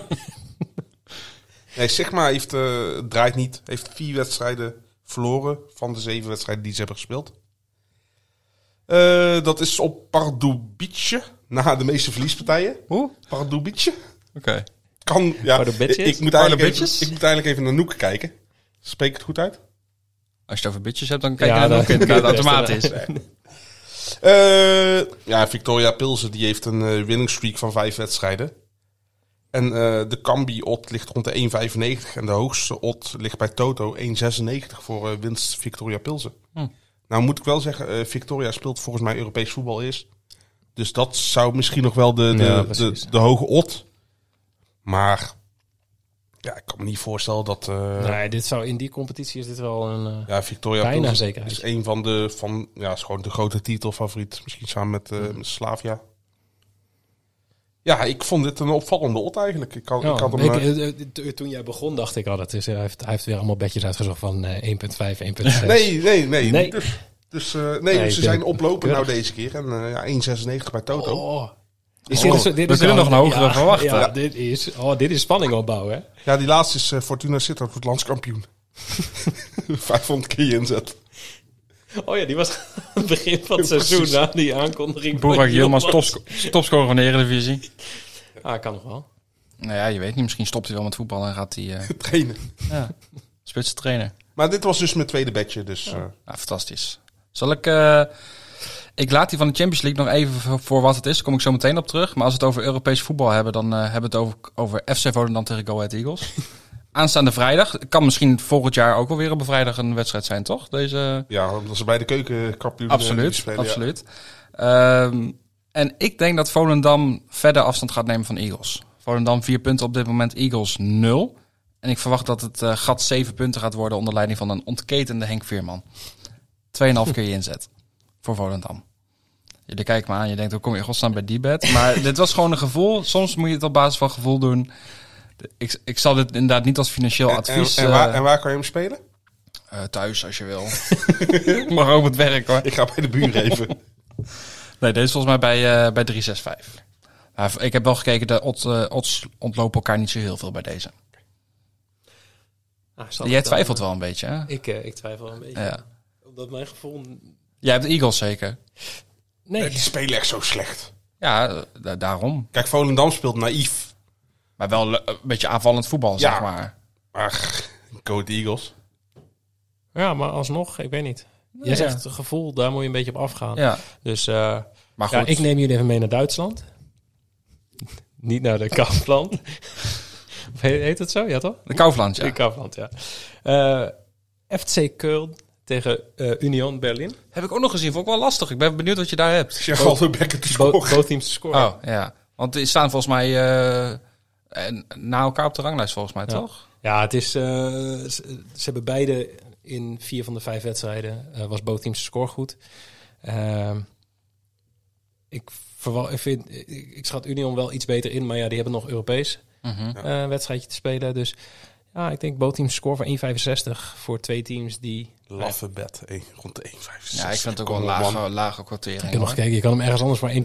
Speaker 7: Nee, Sigma heeft, eh, draait niet. Heeft vier wedstrijden verloren van de zeven wedstrijden die ze hebben gespeeld. Eh, dat is op Pardubice, na de meeste verliespartijen.
Speaker 6: Hoe? Oké.
Speaker 7: Pardubice kan... Ja, ik,
Speaker 1: Pardubice?
Speaker 7: ik moet eigenlijk even,
Speaker 6: Pardubitjes?
Speaker 7: ik moet eigenlijk even naar Noek kijken. Spreek ik het goed uit?
Speaker 6: Als je het over bitches hebt, dan kijk
Speaker 1: Ja,
Speaker 6: je naar
Speaker 1: dan-
Speaker 6: ook inderdaad automatisch.
Speaker 7: Eh, ja, Victoria Pilsen die heeft een eh winningstreak van vijf wedstrijden. En eh, de Cambi-odd ligt rond de 1,95. En de hoogste odd ligt bij Toto 1,96 voor eh, winst Victoria Pilsen.
Speaker 6: Hm.
Speaker 7: Nou moet ik wel zeggen, eh, Victoria speelt volgens mij Europees voetbal eerst. Dus dat zou misschien nog wel de, de,
Speaker 1: Ja,
Speaker 7: de,
Speaker 1: precies.
Speaker 7: de hoge odd. Maar ja, ik kan me niet voorstellen dat... eh,
Speaker 1: Nee, dit zou, in die competitie is dit wel een... eh,
Speaker 7: ja, Victoria
Speaker 1: Bijna
Speaker 7: Pilsen
Speaker 1: zeker.
Speaker 7: is een van de, van, ja, is gewoon de grote titelfavoriet. Misschien samen met, eh,
Speaker 1: Mm.
Speaker 7: met Slavia. Ja, ik vond dit een opvallende ot eigenlijk. Ik, kan,
Speaker 1: Ja,
Speaker 7: ik had hem...
Speaker 1: ik-
Speaker 7: eh,
Speaker 1: eh, eh, to- toen jij begon dacht ik al, dat is, eh, hij, heeft, hij heeft weer allemaal bedjes uitgezocht van eh, 1.5,
Speaker 6: [LAUGHS]
Speaker 1: 1.6.
Speaker 7: nee, nee, nee,
Speaker 1: Nee.
Speaker 7: Dus, dus eh, nee,
Speaker 1: ik
Speaker 7: ze
Speaker 1: ben
Speaker 7: zijn oplopen nou
Speaker 1: keurig.
Speaker 7: deze keer. En eh, ja, 1,96 bij Toto.
Speaker 1: Oh, Is
Speaker 6: Oh, we kunnen nog een hogere
Speaker 1: ja,
Speaker 6: verwachten.
Speaker 1: Ja, dit, is, oh, dit is spanning opbouwen. hè?
Speaker 7: Ja, die laatste is eh, Fortuna Sittard wordt landskampioen. [LAUGHS] 500 keer inzet.
Speaker 1: Oh ja, die was aan het begin van het seizoen, na die aankondiging. van
Speaker 6: Boerak Yilmaz,
Speaker 1: Yilmaz.
Speaker 6: topsco- topscorer van de Eredivisie.
Speaker 1: Ah, kan nog wel.
Speaker 6: Nou ja, je weet niet. Misschien stopt hij wel met voetballen en gaat hij eh
Speaker 7: Trainen.
Speaker 6: spitsen trainen.
Speaker 7: Maar dit was dus mijn tweede bedje. Dus, eh,
Speaker 6: Nou, fantastisch. Zal ik... eh, ik laat die van de Champions League nog even voor- voor wat het is. Daar kom ik zo meteen op terug. Maar als we het over Europees voetbal hebben, dan eh, hebben we het over, over FC Volendam tegen Go Ahead [LAUGHS] Eagles. Aanstaande vrijdag. Kan misschien volgend jaar ook alweer op een vrijdag een wedstrijd zijn, toch? Deze...
Speaker 7: ja, omdat ze bij de keukenkampioen eh,
Speaker 6: Absoluut,
Speaker 7: spelen, ja.
Speaker 6: absoluut. Ehm, en ik denk dat Volendam verder afstand gaat nemen van Eagles. Volendam vier punten op dit moment, Eagles nul. En ik verwacht dat het eh, gat zeven punten gaat worden onder leiding van een ontketende Henk Veerman. Tweeënhalf keer je inzet voor Volendam. Jullie kijken me aan, je denkt, hoe kom je in godsnaam bij die
Speaker 7: [LAUGHS]
Speaker 6: bed? Maar dit was gewoon een gevoel. Soms moet je het op basis van gevoel doen. Ik, ik zal dit inderdaad niet als financieel
Speaker 7: En, en,
Speaker 6: advies...
Speaker 7: en waar,
Speaker 6: eh,
Speaker 7: en waar kan je hem spelen?
Speaker 6: eh, thuis, als je wil. [LAUGHS] Mag ook op het werk, hoor.
Speaker 7: Ik ga bij de
Speaker 1: [LAUGHS]
Speaker 7: buren even.
Speaker 6: Nee, deze is volgens mij bij, eh, bij 365. Maar ik heb wel gekeken, de odds, eh, odds ontlopen elkaar niet zo heel veel bij deze.
Speaker 1: Ah, zal
Speaker 6: Jij
Speaker 1: ik dan-
Speaker 6: twijfelt wel een beetje, hè?
Speaker 1: Ik, eh, ik twijfel een beetje.
Speaker 6: Ja.
Speaker 1: Omdat mijn gevoel...
Speaker 6: Jij hebt de Eagles zeker.
Speaker 1: Nee.
Speaker 7: Eh, Die spelen echt zo slecht.
Speaker 6: Ja, eh, da- daarom.
Speaker 7: Kijk, Volendam speelt naïef.
Speaker 6: Maar wel le- een beetje aanvallend voetbal, zeg maar.
Speaker 7: Maar go Ahead Eagles.
Speaker 1: Ja, maar alsnog, ik weet niet. Jij
Speaker 6: ja.
Speaker 1: zegt het gevoel, daar moet je een beetje op afgaan.
Speaker 6: Ja,
Speaker 1: Dus eh,
Speaker 6: maar goed.
Speaker 1: ja, ik neem jullie even mee naar Duitsland. [LAUGHS] niet naar de Kaufland. [LAUGHS] Of heet, heet het zo? Ja, toch?
Speaker 6: De Kaufland, ja.
Speaker 1: De Kaufland, ja. Eh, FC Keulen tegen eh, Union Berlin.
Speaker 6: Heb ik ook nog gezien, vond ik wel lastig. Ik ben benieuwd wat je daar hebt.
Speaker 7: Ik zeg al de bekken te
Speaker 1: Bo-
Speaker 7: scoren.
Speaker 1: both teams te scoren.
Speaker 6: Oh, ja. Want die staan volgens mij eh, en- na elkaar op de ranglijst, volgens mij,
Speaker 1: Ja.
Speaker 6: toch?
Speaker 1: Ja, het is, eh, ze, ze hebben beide in vier van de vijf wedstrijden eh, was both teams de score goed. Ehm, ik, verwa- ik, vind, ik, ik schat Union wel iets beter in, maar ja, die hebben nog Europees
Speaker 6: Mhm.
Speaker 1: eh, wedstrijdje te spelen. Dus ja, ik denk both teams score van 1,65 voor twee teams die...
Speaker 7: Laffe bed, één- rond de 1,65.
Speaker 6: Ja, ik vind het ook wel een
Speaker 7: Kom op, man.
Speaker 6: lage, lage kwartering.
Speaker 1: Ik heb nog
Speaker 6: hoor.
Speaker 1: gekeken, je kan hem ergens anders voor [LAUGHS]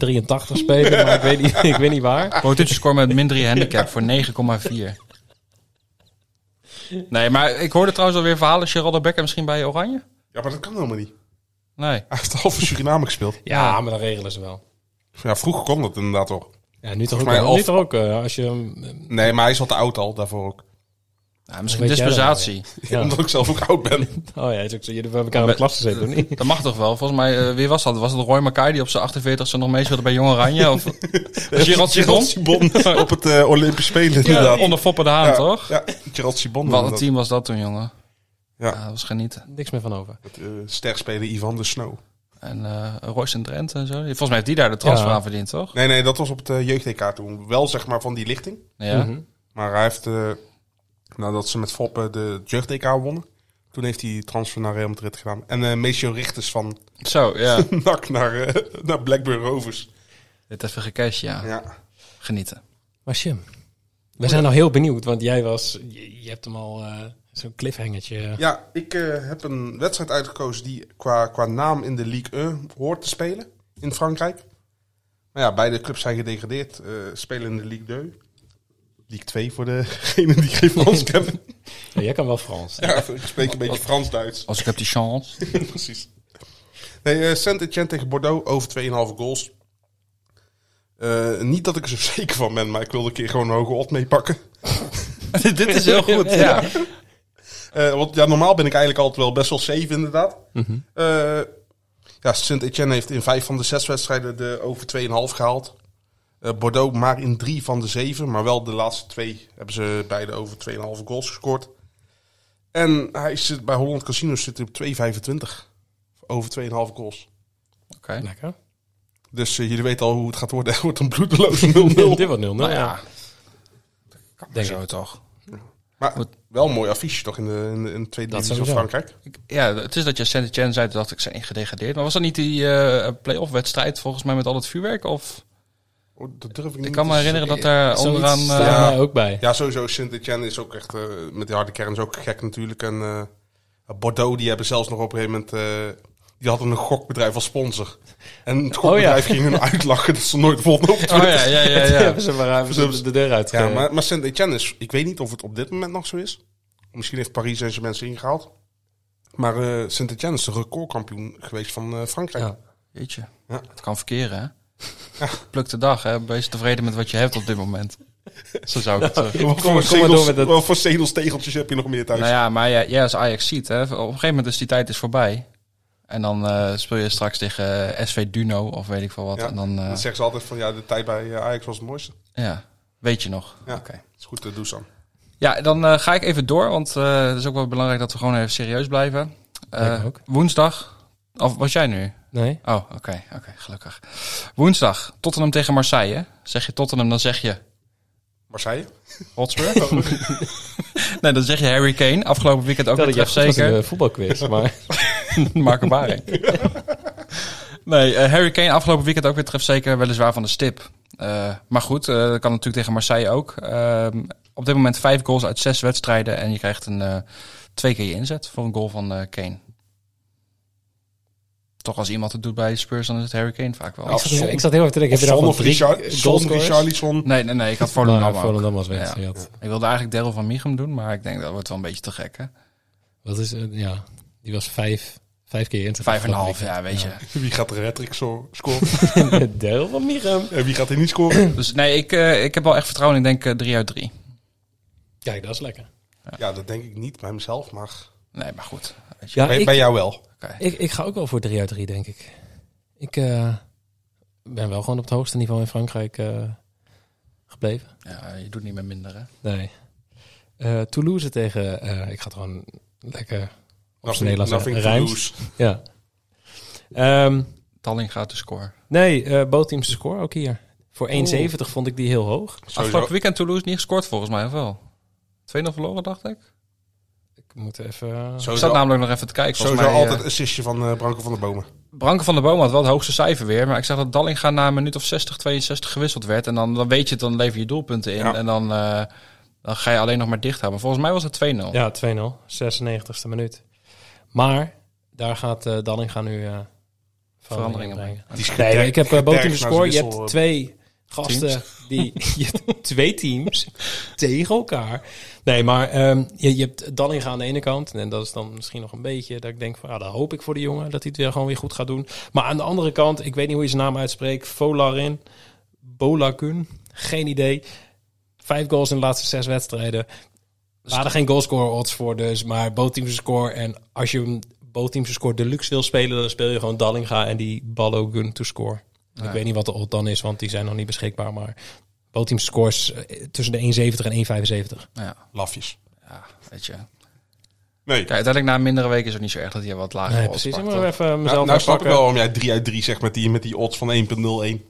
Speaker 1: 1,83 spelen, maar ik weet, niet, ik weet niet waar.
Speaker 6: Bootutje score met min 3 handicap voor 9,4. Nee, maar ik hoorde trouwens alweer verhalen. Geraldo Becker misschien bij Oranje?
Speaker 7: Ja, maar dat kan helemaal niet.
Speaker 6: Nee.
Speaker 7: Hij heeft half Suriname gespeeld.
Speaker 1: Ja, maar dan regelen ze wel.
Speaker 7: Ja, vroeger kon dat inderdaad toch.
Speaker 1: Ja, nu toch ook,
Speaker 7: Volgens mij
Speaker 1: wel.
Speaker 7: of-
Speaker 1: nu toch ook eh, als je... hem, eh,
Speaker 7: Nee, maar hij is al te oud al daarvoor ook.
Speaker 6: Ja, Nou, misschien
Speaker 1: Weet jij dat
Speaker 6: dispensatie.
Speaker 1: Ja.
Speaker 7: Omdat ik zelf ook oud ben.
Speaker 1: Oh ja, het is ook zo, jullie hebben elkaar in de klas gezeten, of niet?
Speaker 6: Dat mag toch wel? Volgens mij, eh, wie was dat? Was het Roy Mackay die op zijn 48ste nog meespeelde bij Jong Oranje? Of Gerald Sibon?
Speaker 7: Gerald
Speaker 6: [LAUGHS]
Speaker 7: Sibon [LAUGHS] op het eh Olympische Spelen
Speaker 6: Ja,
Speaker 7: inderdaad.
Speaker 6: onder Foppen de Haan,
Speaker 7: Ja,
Speaker 6: toch?
Speaker 7: Ja, Gerald Sibon.
Speaker 6: Wat een
Speaker 7: inderdaad.
Speaker 6: team was dat toen, jongen.
Speaker 7: Ja.
Speaker 6: dat was genieten.
Speaker 1: Niks meer van over.
Speaker 7: Met, eh, sterspeler Ivan de Snow.
Speaker 6: En eh Royce en Drenthe en zo. Volgens mij heeft die daar de transfer
Speaker 1: Ja.
Speaker 6: aan verdiend, toch?
Speaker 7: Nee, nee, dat was op het eh, jeugd-EK toen. Wel zeg maar van die lichting.
Speaker 6: Ja.
Speaker 1: Mhm.
Speaker 7: Maar hij heeft, eh, nadat ze met Foppen de jeugd-EK wonnen, toen heeft hij transfer naar Real Madrid gedaan. En eh Meesjo Richters van [LAUGHS]
Speaker 6: Zo, ja.
Speaker 7: NAC naar, eh, naar Blackburn Rovers.
Speaker 6: Dit even gecashed, ja.
Speaker 7: Ja.
Speaker 6: Genieten.
Speaker 1: Maar Jim, we zijn nou heel benieuwd, want jij was, je, je hebt hem al eh, zo'n cliffhangertje.
Speaker 7: Ja, ik eh, heb een wedstrijd uitgekozen die qua, qua naam in de Ligue 1 hoort te spelen in Frankrijk. Maar ja, beide clubs zijn gedegradeerd, eh, spelen in de Ligue 2. Ligue 2 voor degene die geen Frans kennen.
Speaker 1: Ja, jij kan wel Frans.
Speaker 7: [LAUGHS] Ja, ik spreek een beetje Frans-Duits.
Speaker 6: Als ik heb die chance.
Speaker 7: [LAUGHS] Precies. Nee, eh, Saint-Etienne tegen Bordeaux over 2,5 goals. Eh, niet dat ik er zo [LAUGHS] zeker van ben, maar ik wilde een keer gewoon een hoge odd meepakken.
Speaker 6: [LAUGHS] Dit is heel goed, ja.
Speaker 7: Eh, want ja, normaal ben ik eigenlijk altijd wel best wel safe, inderdaad. Eh, ja, Saint-Etienne heeft in vijf van de zes wedstrijden de over 2,5 gehaald. Eh, Bordeaux maar in drie van de zeven, maar wel de laatste twee hebben ze beide over 2,5 goals gescoord. En hij zit bij Holland Casino zit hij op 2,25 over 2,5 goals.
Speaker 6: Oké.
Speaker 1: Lekker.
Speaker 7: Dus eh, jullie weten al hoe het gaat worden. [LAUGHS] Het wordt een bloedeloze 0-0.
Speaker 1: Dit wordt 0-0.
Speaker 6: Nou
Speaker 1: ja.
Speaker 6: ja. Denk zo toch.
Speaker 7: Maar
Speaker 6: Goed.
Speaker 7: wel een mooi affiche toch in de, in de, in de tweede
Speaker 1: Dat
Speaker 7: divisie van
Speaker 1: sowieso.
Speaker 7: Frankrijk.
Speaker 6: Ik- Ja, het is dat je Saint Etienne zei, toen dacht ik, zijn ingedegradeerd. Maar was dat niet die eh play-off wedstrijd volgens mij met al het vuurwerk? Of?
Speaker 7: Oh, dat durf ik niet
Speaker 6: Ik kan me
Speaker 7: te
Speaker 6: herinneren dat
Speaker 7: zeggen.
Speaker 6: daar
Speaker 1: Zoiets
Speaker 6: onderaan... eh,
Speaker 1: staat
Speaker 7: ja.
Speaker 1: mij ook bij.
Speaker 7: Ja, sowieso. Saint-Etienne is ook echt... eh, met die harde kern is ook gek natuurlijk. En eh, Bordeaux, die hebben zelfs nog op een gegeven moment... eh, Die hadden een gokbedrijf als sponsor. En het gokbedrijf ging
Speaker 6: [LAUGHS]
Speaker 7: hun uitlachen dat ze nooit wonnen op Twitter.
Speaker 6: Oh ja, ja,
Speaker 1: [LAUGHS]
Speaker 6: ja.
Speaker 1: Ja,
Speaker 6: [LAUGHS] ja.
Speaker 1: hebben ze maar even de- de deur uit.
Speaker 7: Ja, maar, maar Saint-Etienne is... Ik weet niet of het op dit moment nog zo is. Misschien heeft Paris zijn zijn mensen ingehaald. Maar eh, Saint-Etienne is de recordkampioen geweest van eh, Frankrijk.
Speaker 1: Ja.
Speaker 6: Jeetje,
Speaker 7: Ja.
Speaker 6: het kan verkeren, hè? Pluk de dag, hè? Wees tevreden met wat je hebt op dit [LAUGHS] moment. Zo zou ik het...
Speaker 7: Wat
Speaker 6: eh,
Speaker 1: Kom-
Speaker 7: voor
Speaker 1: kom maar door
Speaker 7: zegels-
Speaker 1: met dat-
Speaker 7: Wat voor zegels-tegeltjes heb je nog meer thuis?
Speaker 6: Nou ja, maar jij jij als Ajax ziet, hè, op een gegeven moment is die tijd is voorbij. En dan eh, speel je straks tegen eh, SV Duno of weet ik veel wat.
Speaker 7: Ja,
Speaker 6: En dan,
Speaker 7: Dan
Speaker 6: eh,
Speaker 7: zeggen ze altijd van ja, de tijd bij eh, Ajax was het mooiste.
Speaker 6: ja, weet je nog.
Speaker 7: Ja.
Speaker 6: Oké.
Speaker 7: Is goed, eh, doe Sam.
Speaker 6: Ja, dan eh, ga ik even door, want eh, het is ook wel belangrijk dat we gewoon even serieus blijven. Eh,
Speaker 1: Lijkt me ook.
Speaker 6: Woensdag, of was jij nu?
Speaker 1: Nee?
Speaker 6: Oh, oké, oké, gelukkig. Woensdag, Tottenham tegen Marseille. Zeg je Tottenham, dan zeg je
Speaker 7: Marseille?
Speaker 6: Hotspur. nee, dan zeg je Harry Kane. Afgelopen weekend ook
Speaker 1: Vertel
Speaker 6: weer
Speaker 1: dat je
Speaker 6: zeker.
Speaker 1: zeker een voetbalquiz, maar...
Speaker 6: Marco Baring. nee, eh, Harry Kane afgelopen weekend ook weer treft zeker weliswaar van de stip. Eh, maar goed, eh, dat kan natuurlijk tegen Marseille ook. Ehm, op dit moment vijf goals uit zes wedstrijden en je krijgt een eh, twee keer je inzet voor een goal van eh, Kane. Toch als iemand het doet bij Spurs, dan is het Harry Kane vaak wel.
Speaker 7: Ja, zon-
Speaker 1: [LAUGHS] Ik zat heel erg te denken,
Speaker 7: Of
Speaker 1: heb je nou
Speaker 7: Son of
Speaker 1: van drie
Speaker 7: Richard, Son,
Speaker 1: goalscorers?
Speaker 7: Richarlison.
Speaker 6: Nee, nee, nee, ik had Volendam
Speaker 1: Nou,
Speaker 6: ook.
Speaker 1: Volendam was weg.
Speaker 6: Ja.
Speaker 1: ja.
Speaker 6: Ik wilde eigenlijk Daryl van Michem doen, maar ik denk dat wordt wel een beetje te gek, hè?
Speaker 1: Wat is het? Ja, die was vijf, vijf keer in.
Speaker 6: Vijf en een half, ja, weet je.
Speaker 7: Wie gaat er hat zo scoren?
Speaker 1: Deel van Miriam.
Speaker 7: en wie gaat er niet scoren?
Speaker 6: Dus nee, ik, eh, ik heb wel echt vertrouwen in, denk ik, eh, drie uit drie.
Speaker 1: Kijk, dat is lekker.
Speaker 7: Ja, dat denk ik niet bij mezelf, maar
Speaker 6: Nee, maar goed. Weet je.
Speaker 1: Ja,
Speaker 7: bij,
Speaker 1: ik,
Speaker 7: bij jou wel.
Speaker 6: Oké.
Speaker 1: ik, ik ga ook wel voor 3 uit 3, denk ik. Ik eh, ben wel gewoon op het hoogste niveau in Frankrijk eh, gebleven.
Speaker 6: Ja, je doet niet meer minder, hè?
Speaker 1: Nee. Eh, Toulouse tegen... eh, ik ga het gewoon lekker... Op zijn
Speaker 7: Nothing-
Speaker 1: Nederlands
Speaker 7: nothing to
Speaker 1: Rijns.
Speaker 7: lose.
Speaker 1: Ja. Ehm,
Speaker 6: Talling gaat de score.
Speaker 1: nee, eh both teams de score ook hier. Voor 1,70 vond ik die heel hoog.
Speaker 7: Sowieso.
Speaker 6: Afgelopen weekend Toulouse niet gescoord volgens mij, of wel? 2-0 verloren, dacht ik.
Speaker 1: Ik moet even... eh,
Speaker 6: Ik
Speaker 7: Sowieso,
Speaker 6: zat namelijk nog even te kijken. Volgens
Speaker 7: sowieso
Speaker 6: mij,
Speaker 7: altijd
Speaker 6: eh,
Speaker 7: assistje van eh, Branko van der Bomen.
Speaker 6: Branko van der Boom had wel het hoogste cijfer weer. Maar ik zag dat Dallinga na een minuut of 60, 62 gewisseld werd. En dan, dan weet je het, dan lever je doelpunten in.
Speaker 7: Ja.
Speaker 6: En dan, eh, dan ga je alleen nog maar dicht houden. Volgens mij was het 2-0.
Speaker 1: Ja, 2-0. 96e minuut. Maar daar gaat eh Dallinga nu eh veranderingen
Speaker 6: Veranderingen
Speaker 1: brengen.
Speaker 7: Die is
Speaker 1: Nee,
Speaker 7: gederkt-
Speaker 1: ik heb uh, boven de
Speaker 7: gederkt naar
Speaker 1: score. Je
Speaker 7: zijn
Speaker 1: hebt
Speaker 7: wissel,
Speaker 1: twee gasten die [LAUGHS] je hebt twee
Speaker 7: [LAUGHS]
Speaker 1: teams tegen elkaar. Nee, maar ehm, je, je hebt Dallinga aan de ene kant en dat is dan misschien nog een beetje dat ik denk van, ja, dat hoop ik voor de jongen dat hij het weer gewoon weer goed gaat doen. Maar aan de andere kant, ik weet niet hoe je zijn naam uitspreekt, Volarin, Bolakun, geen idee. Vijf goals in de laatste zes wedstrijden. We hadden geen goalscore odds voor dus, maar bootteamse score. En als je hem bootteamse score deluxe wil spelen, dan speel je gewoon Dallinga en die Balogun to score. Ik weet niet wat de odd dan is, want die zijn nog niet beschikbaar. Maar bootteamse scores eh, tussen de 1,70 en 1,75.
Speaker 6: Nou ja,
Speaker 7: Lafjes.
Speaker 6: ja, weet je.
Speaker 7: Nee, Nou,
Speaker 6: Kijk, uiteindelijk na een mindere week is het niet zo erg dat je wat lager
Speaker 1: Nee,
Speaker 6: was.
Speaker 1: precies. Ik
Speaker 6: Maar
Speaker 1: moet even
Speaker 7: nou,
Speaker 1: mezelf
Speaker 7: nou snap ik
Speaker 1: pakken.
Speaker 7: wel waarom jij 3 uit 3 zegt met die, met die odds van 1.01.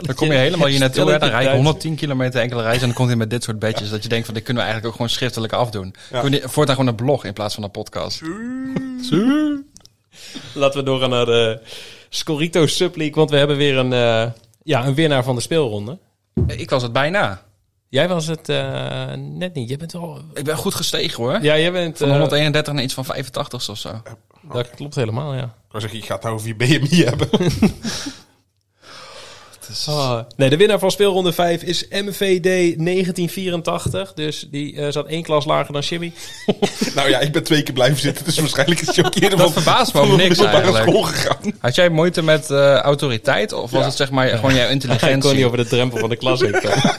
Speaker 6: Dan kom je helemaal hier naartoe. hè. Dan
Speaker 1: Stelletje
Speaker 6: rij je
Speaker 1: Duits.
Speaker 6: 110 kilometer enkele reis. En dan komt hij met dit soort bedjes. Dat je denkt van, dit kunnen we eigenlijk ook gewoon schriftelijk afdoen.
Speaker 7: Ja.
Speaker 6: Doe die- Voortaan gewoon een blog in plaats van een podcast.
Speaker 1: Laten we doorgaan naar de Scorito Subleague, want we hebben weer een, eh, ja, een winnaar van de speelronde.
Speaker 6: Ik was het bijna.
Speaker 1: Jij was het eh, net niet. Jij bent al...
Speaker 6: Ik ben goed gestegen hoor.
Speaker 1: Ja, jij bent...
Speaker 6: Van
Speaker 1: eh,
Speaker 6: 131 naar iets van 85 of zo.
Speaker 1: dat klopt helemaal, ja.
Speaker 7: Ik wou zeggen, je gaat nou over je BMI hebben.
Speaker 1: Ah, nee, de winnaar van speelronde 5 is MVD 1984. Dus die eh, zat één klas lager dan Jimmy.
Speaker 7: nou ja, ik ben twee keer blijven zitten, dus waarschijnlijk is het jouw keer
Speaker 6: Dat verbaast
Speaker 1: [LAUGHS]
Speaker 6: me ook niks eigenlijk.
Speaker 7: school gegaan.
Speaker 6: Had jij moeite met eh, autoriteit? Of was het zeg maar gewoon
Speaker 1: [LAUGHS]
Speaker 6: jouw
Speaker 1: Hij kon niet
Speaker 6: intelligentie?
Speaker 1: over de drempel van de klas heen
Speaker 6: [LAUGHS]
Speaker 1: komen.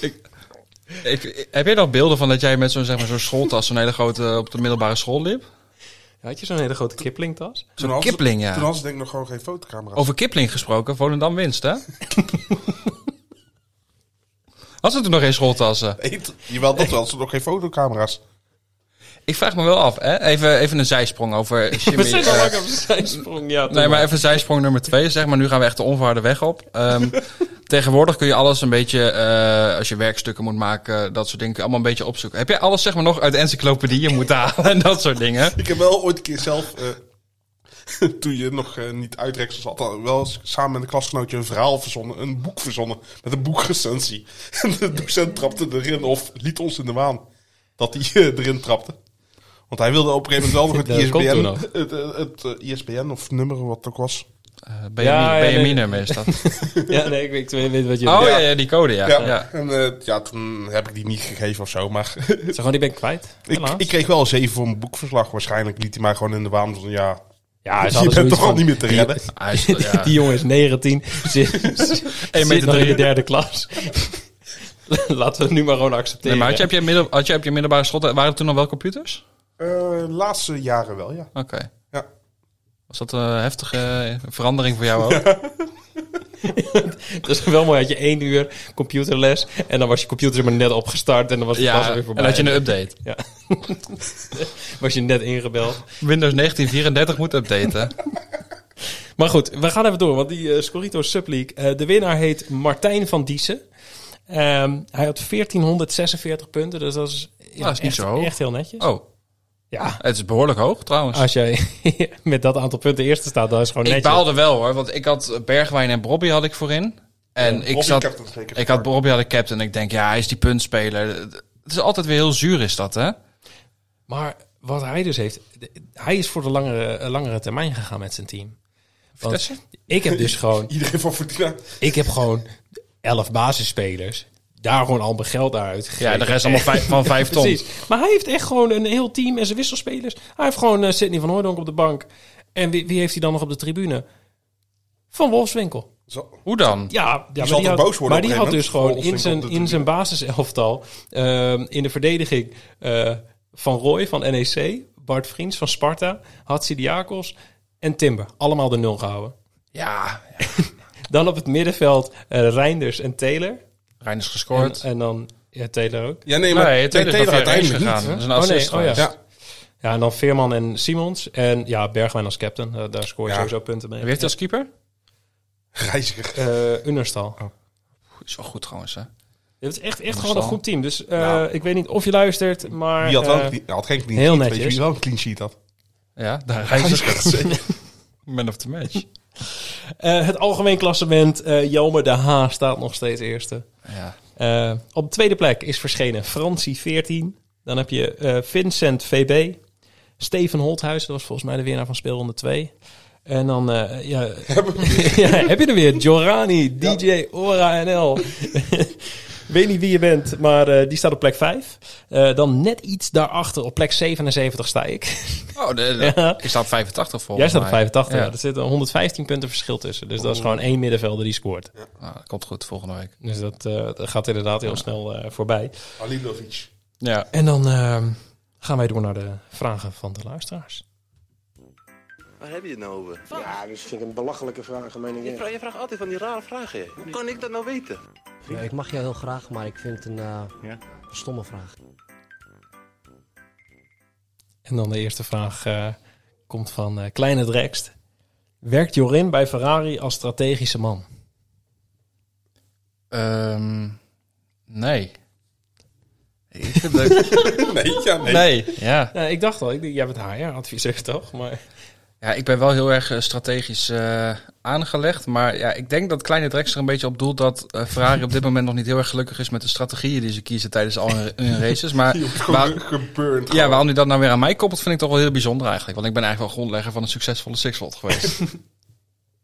Speaker 6: Ik- ik- heb jij nog beelden van dat jij met zo'n zeg maar, zo'n schooltas, zo'n hele grote, op de middelbare school liep?
Speaker 1: Had je zo'n hele grote kiplingtas?
Speaker 7: Toen
Speaker 6: hadden ze- Kipling, ja.
Speaker 7: Toen had ze denk ik nog gewoon geen fotocamera.
Speaker 6: Over Kipling gesproken, Volendam winst hè? [LAUGHS] Had ze toen nog geen schooltassen?
Speaker 7: Nee, t- Jawel, dat wel. Ze nog geen fotocamera's.
Speaker 6: Ik vraag me wel af, hè? Even, even een zijsprong over Jimmy. eh,
Speaker 1: op zijn sprong, ja.
Speaker 6: Nee, maar even zijsprong nummer twee. Zeg maar, nu gaan we echt de onverharde weg op. Ehm, tegenwoordig kun je alles een beetje, eh, als je werkstukken moet maken, dat soort dingen, kun je allemaal een beetje opzoeken. Heb jij alles zeg maar nog uit encyclopedieën moeten halen en dat soort dingen?
Speaker 7: Ik heb wel ooit een keer zelf, eh, [LAUGHS] toen je nog eh, niet uitreksel zat, al wel eens samen met een klasgenootje een verhaal verzonnen, een boek verzonnen, met een boekrecensie. [LAUGHS] En de docent trapte erin of liet ons in de waan dat hij eh, erin trapte. Want hij wilde op een gegeven
Speaker 6: [LAUGHS]
Speaker 7: moment
Speaker 1: Dat
Speaker 7: wel nog
Speaker 1: komt
Speaker 7: het
Speaker 1: toen nog.
Speaker 7: ISBN, het, het, het, eh, ISBN of nummer wat het ook was.
Speaker 6: Eh,
Speaker 1: Ja, ja,
Speaker 6: BMI,
Speaker 1: nee.
Speaker 6: BMI-nummer is dat.
Speaker 1: Ja, nee, ik weet, ik weet wat je
Speaker 6: Oh
Speaker 1: bedoelt.
Speaker 6: ja, ja, die code, ja.
Speaker 7: Ja,
Speaker 6: ja.
Speaker 7: en eh, ja, toen heb ik die niet gegeven of zo. Maar [LAUGHS]
Speaker 1: Zeg gewoon, die ben ik kwijt.
Speaker 7: ik,
Speaker 1: Helaas.
Speaker 7: ik kreeg wel een 7 voor mijn boekverslag. Waarschijnlijk liet hij mij gewoon in de waan van ja,
Speaker 1: ja, hij is
Speaker 7: [LAUGHS] je
Speaker 1: altijd
Speaker 7: bent
Speaker 1: zoiets
Speaker 7: toch al
Speaker 1: van-
Speaker 7: niet meer te redden.
Speaker 6: Hij is- ja.
Speaker 1: [LAUGHS] Die jongen is 19, [LAUGHS] zit, zit
Speaker 6: meter
Speaker 1: nog in de
Speaker 6: drie.
Speaker 1: derde klas. [LAUGHS] Laten we het nu maar gewoon accepteren.
Speaker 6: Nee, maar had je, heb je middel, had je, heb je middelbare school, waren er toen al wel computers?
Speaker 7: Eh, laatste jaren wel, ja.
Speaker 6: Oké.
Speaker 7: Ja.
Speaker 6: Was dat een heftige verandering voor
Speaker 1: [LAUGHS]
Speaker 6: jou ook?
Speaker 1: Het is wel mooi, had je één uur computerles en dan was je computer maar net opgestart en dan was het pas weer
Speaker 6: en
Speaker 1: voorbij.
Speaker 6: had je een update.
Speaker 1: was je net ingebeld.
Speaker 6: Windows 1934 moet
Speaker 1: [LAUGHS]
Speaker 6: updaten.
Speaker 1: Maar goed, we gaan even door, want die eh, Scorito Subleague, eh, de winnaar heet Martijn van Diezen. Ehm, hij had 1446 punten, dus dat is, ja,
Speaker 6: dat is niet
Speaker 1: echt,
Speaker 6: zo hoog.
Speaker 1: echt heel netjes.
Speaker 6: Oh,
Speaker 1: Ja,
Speaker 6: het is behoorlijk hoog trouwens.
Speaker 1: als jij [LAUGHS] met dat aantal punten eerste staat, dan is het gewoon
Speaker 6: Ik
Speaker 1: netjes.
Speaker 6: baalde wel hoor, want ik had Bergwijn en Bobby had ik voorin. En ik
Speaker 7: Bobby
Speaker 6: zat,
Speaker 7: captain zeker.
Speaker 6: ik had Bobby had ik captain en ik denk, ja, hij is die puntspeler. Het is altijd weer heel zuur is dat, hè?
Speaker 1: Maar wat hij dus heeft, de- hij is voor de langere, eh, langere termijn gegaan met zijn team. Want
Speaker 6: Vitesse?
Speaker 1: ik heb dus gewoon,
Speaker 7: Iedereen van Fortuna.
Speaker 1: ik heb gewoon elf basisspelers. Daar gewoon al mijn geld aan uitgegeven.
Speaker 6: Ja, de rest allemaal vijf- van
Speaker 1: [LAUGHS]
Speaker 6: vijf ton.
Speaker 1: Precies. Maar hij heeft echt gewoon een heel team en zijn wisselspelers. Hij heeft gewoon eh, Sidney van Hooydonk op de bank. En wie, wie heeft hij dan nog op de tribune? Van Wolfswinkel.
Speaker 7: Zo.
Speaker 6: Hoe dan?
Speaker 1: Ja, ja maar
Speaker 7: zal toch
Speaker 1: had,
Speaker 7: boos worden op
Speaker 1: Maar
Speaker 7: een
Speaker 1: die
Speaker 7: gegeven
Speaker 1: had
Speaker 7: moment?
Speaker 1: dus gewoon in
Speaker 7: Wolfswinkel op
Speaker 1: zijn,
Speaker 7: de
Speaker 1: in zijn basiselftal, ehm, in de verdediging, eh, Van Roy van NEC, Bart Vriends van Sparta, Hatsi Diakos en Timber. Allemaal de nul gehouden.
Speaker 6: Ja,
Speaker 1: [LAUGHS] Dan op het middenveld eh, Reinders en Taylor.
Speaker 6: Rijn is
Speaker 1: En,
Speaker 6: gescoord.
Speaker 1: en dan ja, Taylor ook.
Speaker 7: Ja, nee, maar
Speaker 6: Nee,
Speaker 7: nee,
Speaker 6: Taylor is
Speaker 7: Taylor
Speaker 6: nog geen eens
Speaker 7: uiteindelijk
Speaker 6: gegaan.
Speaker 7: niet.
Speaker 6: Dat
Speaker 7: hè?
Speaker 6: is een assist
Speaker 1: oh, nee, oh,
Speaker 6: geweest.
Speaker 1: ja. Ja, en dan Veerman en Simons. En ja, Bergwijn als captain. Eh, daar scoor je
Speaker 7: Ja.
Speaker 1: sowieso punten mee.
Speaker 6: Wie heeft hij als keeper?
Speaker 7: Reiziger.
Speaker 1: Eh, Unnerstal.
Speaker 6: Is wel goed trouwens, hè?
Speaker 1: Het is echt, echt gewoon een
Speaker 6: Unnerstal.
Speaker 1: goed team. Dus eh,
Speaker 7: Nou.
Speaker 1: ik weet niet of je luistert, maar...
Speaker 7: Die had, wel
Speaker 1: eh,
Speaker 7: een clean- had geen clean
Speaker 1: heel
Speaker 7: sheet. Weet je
Speaker 1: netjes.
Speaker 7: wie wel een clean sheet had?
Speaker 6: Ja, daar [LAUGHS] Reiziger. Man of the match.
Speaker 1: Eh, het algemeen klassement, eh Jelmer de H staat nog steeds eerste.
Speaker 6: Ja.
Speaker 1: Eh, op de tweede plek is verschenen Francie 14. Dan heb je eh, Vincent VB. Steven Holthuis, dat was volgens mij de winnaar van speelronde 2. En dan eh,
Speaker 7: [LAUGHS]
Speaker 1: ja, [LAUGHS] ja, heb je er weer Jorani, DJ Ora NL. [LAUGHS] Weet niet wie je bent, maar eh, die staat op plek 5. Eh, dan net iets daarachter, op plek 77 sta ik.
Speaker 6: Oh, de, de-
Speaker 1: Ja.
Speaker 6: ik sta op 85 volgens
Speaker 1: Jij staat op
Speaker 6: mij.
Speaker 1: 85, ja.
Speaker 6: Ja. dus-
Speaker 1: er zit een 115 punten verschil tussen. Dus dat is gewoon één middenvelder die scoort.
Speaker 6: Ah, dat komt goed volgende week.
Speaker 1: Dus dat, eh, dat gaat inderdaad heel snel eh, voorbij.
Speaker 7: Alilovic.
Speaker 6: Ja.
Speaker 1: En dan ehm, gaan wij door naar de vragen van de luisteraars.
Speaker 10: Waar heb je het nou over?
Speaker 5: Ja, dat vind ik een belachelijke vraag, meen
Speaker 10: Je, vra- je vraagt altijd van die rare vragen. hè. Hoe kan ik dat nou weten?
Speaker 5: ik mag jou heel graag, maar ik vind het een eh,
Speaker 2: Ja.
Speaker 5: stomme vraag.
Speaker 1: En dan de eerste vraag eh, komt van eh, Kleine Drekst. Werkt Jorin bij Ferrari als strategische man?
Speaker 6: Ehm, nee. Ik vind [LAUGHS] het-
Speaker 7: [LAUGHS] Nee, ja, nee.
Speaker 6: nee. Ja.
Speaker 1: Nou, ik dacht al, ik, denk, jij bent HR-adviseur toch? Maar
Speaker 6: Ja, ik ben wel heel erg eh, strategisch eh, aangelegd. Maar ja, ik denk dat Kleine Drexler een beetje op doelt dat eh, Ferrari op dit moment nog niet heel erg gelukkig is met de strategieën die ze kiezen tijdens al hun, hun races. [LAUGHS] Maar
Speaker 7: Gewoon
Speaker 6: waar-
Speaker 7: geburnt.
Speaker 6: ja, waarom hij dat nou weer aan mij koppelt, vind ik toch wel heel bijzonder eigenlijk. Want ik ben eigenlijk wel grondlegger van een succesvolle Sixfold geweest.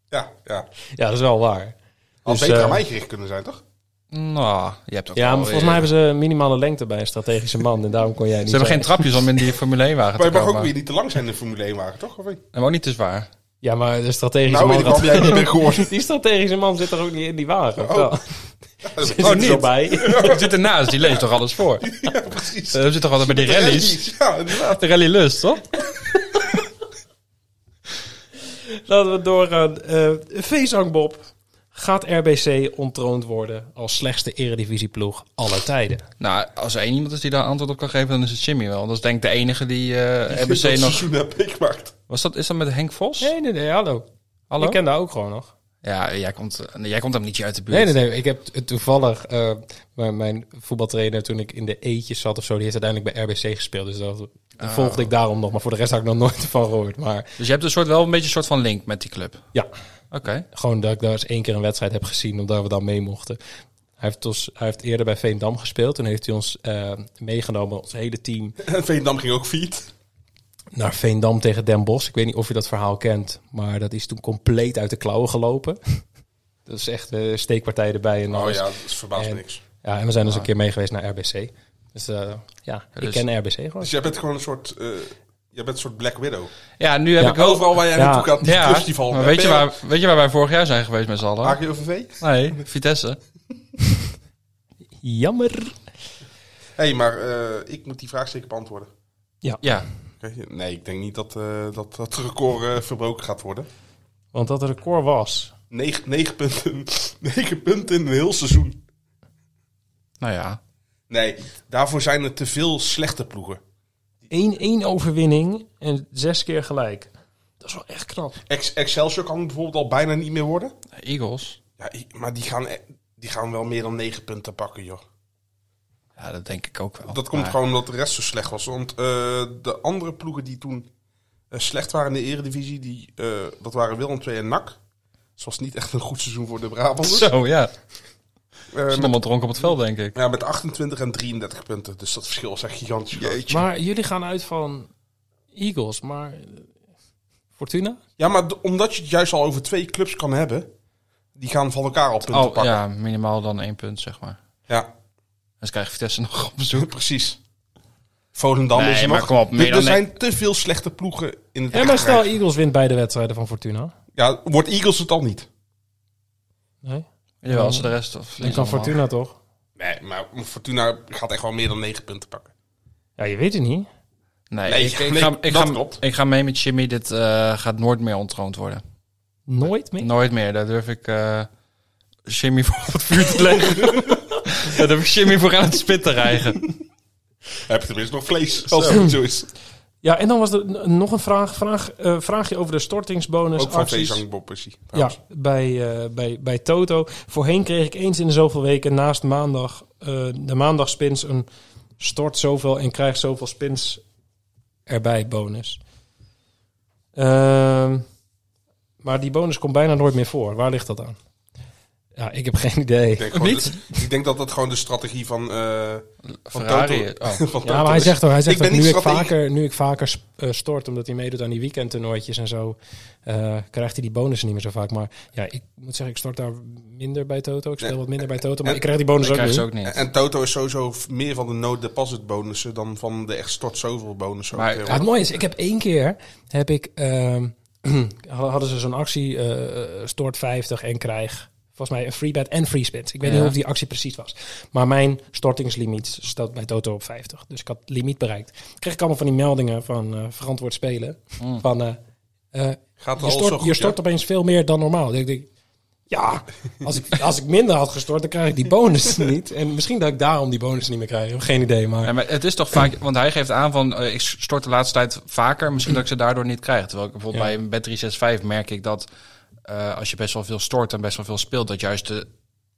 Speaker 7: Ja, ja.
Speaker 1: ja, dat is wel waar.
Speaker 7: Had
Speaker 1: Dus,
Speaker 7: beter
Speaker 1: eh,
Speaker 7: aan mij gericht kunnen zijn, toch?
Speaker 6: nou, je hebt ook
Speaker 1: Ja,
Speaker 6: wel
Speaker 1: maar volgens
Speaker 6: weer-
Speaker 1: mij hebben ze een minimale lengte bij een strategische man. En daarom kon jij niet
Speaker 6: Ze hebben
Speaker 1: zijn.
Speaker 6: geen trapjes om in die Formule 1 wagen
Speaker 7: Maar
Speaker 6: te
Speaker 7: je mag
Speaker 6: komen.
Speaker 7: ook weer niet te lang zijn in de Formule 1 wagen, toch? Of niet?
Speaker 6: En ook niet te zwaar. [LAUGHS]
Speaker 1: Ja, maar de strategische
Speaker 7: Nou, weet
Speaker 1: man...
Speaker 7: ik waarom jij het niet bent gehoord.
Speaker 1: [LAUGHS] Die strategische man zit er ook niet in die wagen. of
Speaker 7: Oh.
Speaker 1: wel? [LAUGHS]
Speaker 6: Oh,
Speaker 1: Zit er
Speaker 6: niet?
Speaker 1: bij.
Speaker 6: Die zit ernaast, die leest toch alles voor?
Speaker 7: Ja, precies.
Speaker 6: Ze zit toch altijd bij die rallies?
Speaker 7: Ja, inderdaad.
Speaker 6: De rally lust, toch?
Speaker 1: [LAUGHS] Laten we doorgaan. Eh Veezang Bob. Gaat RBC ontroond worden als slechtste eredivisieploeg aller tijden?
Speaker 6: Nou, als er één iemand is die daar antwoord op kan geven, dan is het Jimmy wel. Dat is denk ik de enige die eh
Speaker 7: Dat
Speaker 6: RBC nog...
Speaker 7: seizoen heb ik gemaakt. [LAUGHS]
Speaker 6: Was dat, is dat met Henk Vos?
Speaker 1: Nee, nee, nee, hallo.
Speaker 6: Hallo?
Speaker 1: Ik ken daar ook gewoon nog.
Speaker 6: Ja, jij komt, eh, nee, jij komt hem niet uit de buurt.
Speaker 1: Nee, nee, nee. Ik heb t- toevallig... eh, maar mijn voetbaltrainer, toen ik in de eetjes zat of zo... die heeft uiteindelijk bij RBC gespeeld. Dus dat dat volgde ik daarom nog. Maar voor de rest had ik nog nooit [LAUGHS] van gehoord. Maar
Speaker 6: Dus je hebt een soort, wel een beetje een soort van link met die club.
Speaker 1: ja,
Speaker 6: Oké.
Speaker 1: gewoon dat ik daar eens één keer een wedstrijd heb gezien... omdat we dan mee mochten. Hij heeft, ons, hij heeft eerder bij Veendam gespeeld. Toen heeft hij ons eh, meegenomen, ons hele team...
Speaker 7: En Veendam ging ook fiet.
Speaker 1: naar Veendam tegen Den Bosch. Ik weet niet of je dat verhaal kent, maar dat is toen compleet uit de klauwen gelopen. [LAUGHS] dat is echt eh, steekpartij erbij. En
Speaker 7: Oh
Speaker 1: alles.
Speaker 7: ja, dat is verbaasd
Speaker 1: En-
Speaker 7: niks.
Speaker 1: Ja, en we zijn dus een keer mee geweest naar RBC. Dus eh, ja, ik
Speaker 6: Dus-
Speaker 1: ken RBC gewoon.
Speaker 7: Dus jij bent gewoon een soort, eh jij bent een soort Black Widow.
Speaker 6: Ja, nu heb
Speaker 1: Ja.
Speaker 6: ik wel...
Speaker 7: Overal waar jij
Speaker 1: Ja.
Speaker 7: naartoe gaat, die eh,
Speaker 6: Ja,
Speaker 7: festival.
Speaker 6: maar weet je, waar, weet je waar wij vorig jaar zijn geweest met z'n allen?
Speaker 7: AGOVV?
Speaker 6: Nee, Vitesse.
Speaker 1: Jammer.
Speaker 7: Hé, hey, maar eh, ik moet die vraag zeker beantwoorden.
Speaker 6: Ja,
Speaker 7: Oké, Nee, ik denk niet dat eh, dat, dat record eh, verbroken gaat worden.
Speaker 1: Want dat record was.
Speaker 7: Negen, negen, punten, [LAUGHS] negen punten in een heel seizoen.
Speaker 6: nou ja.
Speaker 7: Nee, daarvoor zijn er te veel slechte ploegen.
Speaker 1: 1-1 overwinning en zes keer gelijk. Dat is wel echt knap.
Speaker 7: Ex Excelsior kan bijvoorbeeld al bijna niet meer worden.
Speaker 6: Eagles.
Speaker 7: Ja, i- maar die gaan, e- die gaan wel meer dan negen punten pakken, joh.
Speaker 6: Ja, dat denk ik ook wel.
Speaker 7: Dat komt
Speaker 6: Maar- [LAUGHS]
Speaker 7: gewoon omdat de rest zo slecht was. Want eh, de andere ploegen die toen eh, slecht waren in de eredivisie, die, eh, dat waren Willem II en NAC. Dus het was niet echt een goed seizoen voor de Brabanters.
Speaker 6: Zo, ja.
Speaker 7: Eh,
Speaker 6: Stond
Speaker 7: met,
Speaker 6: allemaal dronken op het veld, denk ik.
Speaker 7: ja, met 28 en 33 punten. Dus dat verschil is echt gigantisch groot.
Speaker 1: Maar jullie gaan uit van Eagles, maar eh, Fortuna?
Speaker 7: Ja, maar d- omdat je het juist al over twee clubs kan hebben, die gaan van elkaar al punten
Speaker 6: Oh,
Speaker 7: pakken.
Speaker 6: ja, minimaal dan één punt, zeg maar.
Speaker 7: ja.
Speaker 6: Dus krijgt Vitesse nog op bezoek.
Speaker 7: [LAUGHS] Precies. Volendam
Speaker 6: Nee,
Speaker 7: is er
Speaker 6: maar
Speaker 7: nog.
Speaker 6: kom op, meer
Speaker 7: er er
Speaker 6: dan-
Speaker 7: zijn te veel slechte ploegen in het
Speaker 1: En maar stel
Speaker 7: rechterrijk.
Speaker 1: Eagles wint beide wedstrijden van Fortuna.
Speaker 7: Ja, wordt Eagles het al niet?
Speaker 1: Nee?
Speaker 6: Jawel, als ze de rest... Of
Speaker 1: Dan kan Fortuna toch?
Speaker 7: Nee, maar Fortuna gaat echt wel meer dan 9 punten pakken.
Speaker 1: Ja, je weet het niet.
Speaker 6: Nee,
Speaker 7: Nee,
Speaker 6: ik, ik
Speaker 7: nee,
Speaker 6: ga, ik,
Speaker 7: dat
Speaker 6: ga,
Speaker 7: klopt.
Speaker 6: ik ga mee met Jimmy. Dit eh, gaat nooit meer ontroond worden.
Speaker 1: Nooit meer.
Speaker 6: Nooit meer. Daar durf ik eh, Jimmy voor op het vuur
Speaker 7: [LAUGHS]
Speaker 6: te leggen. Daar durf ik Jimmy voor aan het spit te rijgen.
Speaker 7: Heb je tenminste nog [LAUGHS] vlees? Als het zo is.
Speaker 1: Ja, en dan was er n- nog een vraag, vraag, eh, vraagje over de stortingsbonus.
Speaker 7: Ook van
Speaker 1: acties.
Speaker 7: Veezang Bob is hij.
Speaker 1: Ja, bij, eh, bij, bij Toto. Voorheen kreeg ik eens in de zoveel weken naast maandag, eh, de maandagspins een stort zoveel en krijg zoveel spins erbij bonus. Ehm, maar die bonus komt bijna nooit meer voor. Waar ligt dat aan? Ja, ik heb geen idee.
Speaker 7: Ik denk, gewoon dat- ik denk dat dat gewoon de strategie van, eh van
Speaker 6: Ferrari.
Speaker 7: Toto- [LAUGHS]
Speaker 6: Oh.
Speaker 7: van
Speaker 1: Ja,
Speaker 7: Toto
Speaker 1: maar hij
Speaker 7: is.
Speaker 1: zegt toch, hij zegt
Speaker 7: Ik ben
Speaker 1: toch,
Speaker 7: niet
Speaker 1: nu, ik
Speaker 7: stratege-
Speaker 1: vaker, nu ik vaker sp- eh, stort, omdat hij meedoet aan die weekendtoernooitjes en zo, eh, krijgt hij die bonussen niet meer zo vaak. Maar ja, ik moet zeggen, ik stort daar minder bij Toto. Ik speel
Speaker 7: Nee.
Speaker 1: wat minder bij Toto, maar
Speaker 7: En-
Speaker 1: ik krijg die bonus
Speaker 6: Dat
Speaker 1: ook
Speaker 6: krijgt
Speaker 1: niet.
Speaker 6: ze ook niet.
Speaker 7: En, en Toto is sowieso f- meer van de no-deposit bonussen dan van de echt stort zoveel bonussen.
Speaker 6: Maar-
Speaker 1: Ja, het mooie is, ik heb één keer, heb ik, ehm, [CLEARS THROAT] hadden ze zo'n actie, eh, stort 50 en krijg... Volgens mij een free bet en free spins. Ik weet
Speaker 6: Ja.
Speaker 1: niet of die actie precies was. Maar mijn stortingslimiet staat bij Toto op 50. Dus ik had het limiet bereikt. Kreeg ik allemaal van die meldingen van eh, verantwoord spelen. Van eh, eh,
Speaker 7: Gaat
Speaker 1: je
Speaker 7: al
Speaker 1: stort,
Speaker 7: zo goed,
Speaker 1: je stort
Speaker 7: ja?
Speaker 1: opeens veel meer dan normaal. Dus Ik denk, ja, als ik, als ik minder had gestort, dan krijg ik die bonus [LAUGHS] niet. En misschien dat ik daarom die bonus niet meer krijg. Ik heb Geen idee, maar...
Speaker 6: Ja, maar het is toch vaak, want hij geeft aan van eh, ik stort de laatste tijd vaker, misschien dat ik ze daardoor niet krijg. Terwijl ik bijvoorbeeld
Speaker 1: Ja.
Speaker 6: bij een Bet365 merk ik dat eh, als je best wel veel stort en best wel veel speelt, dat juist de,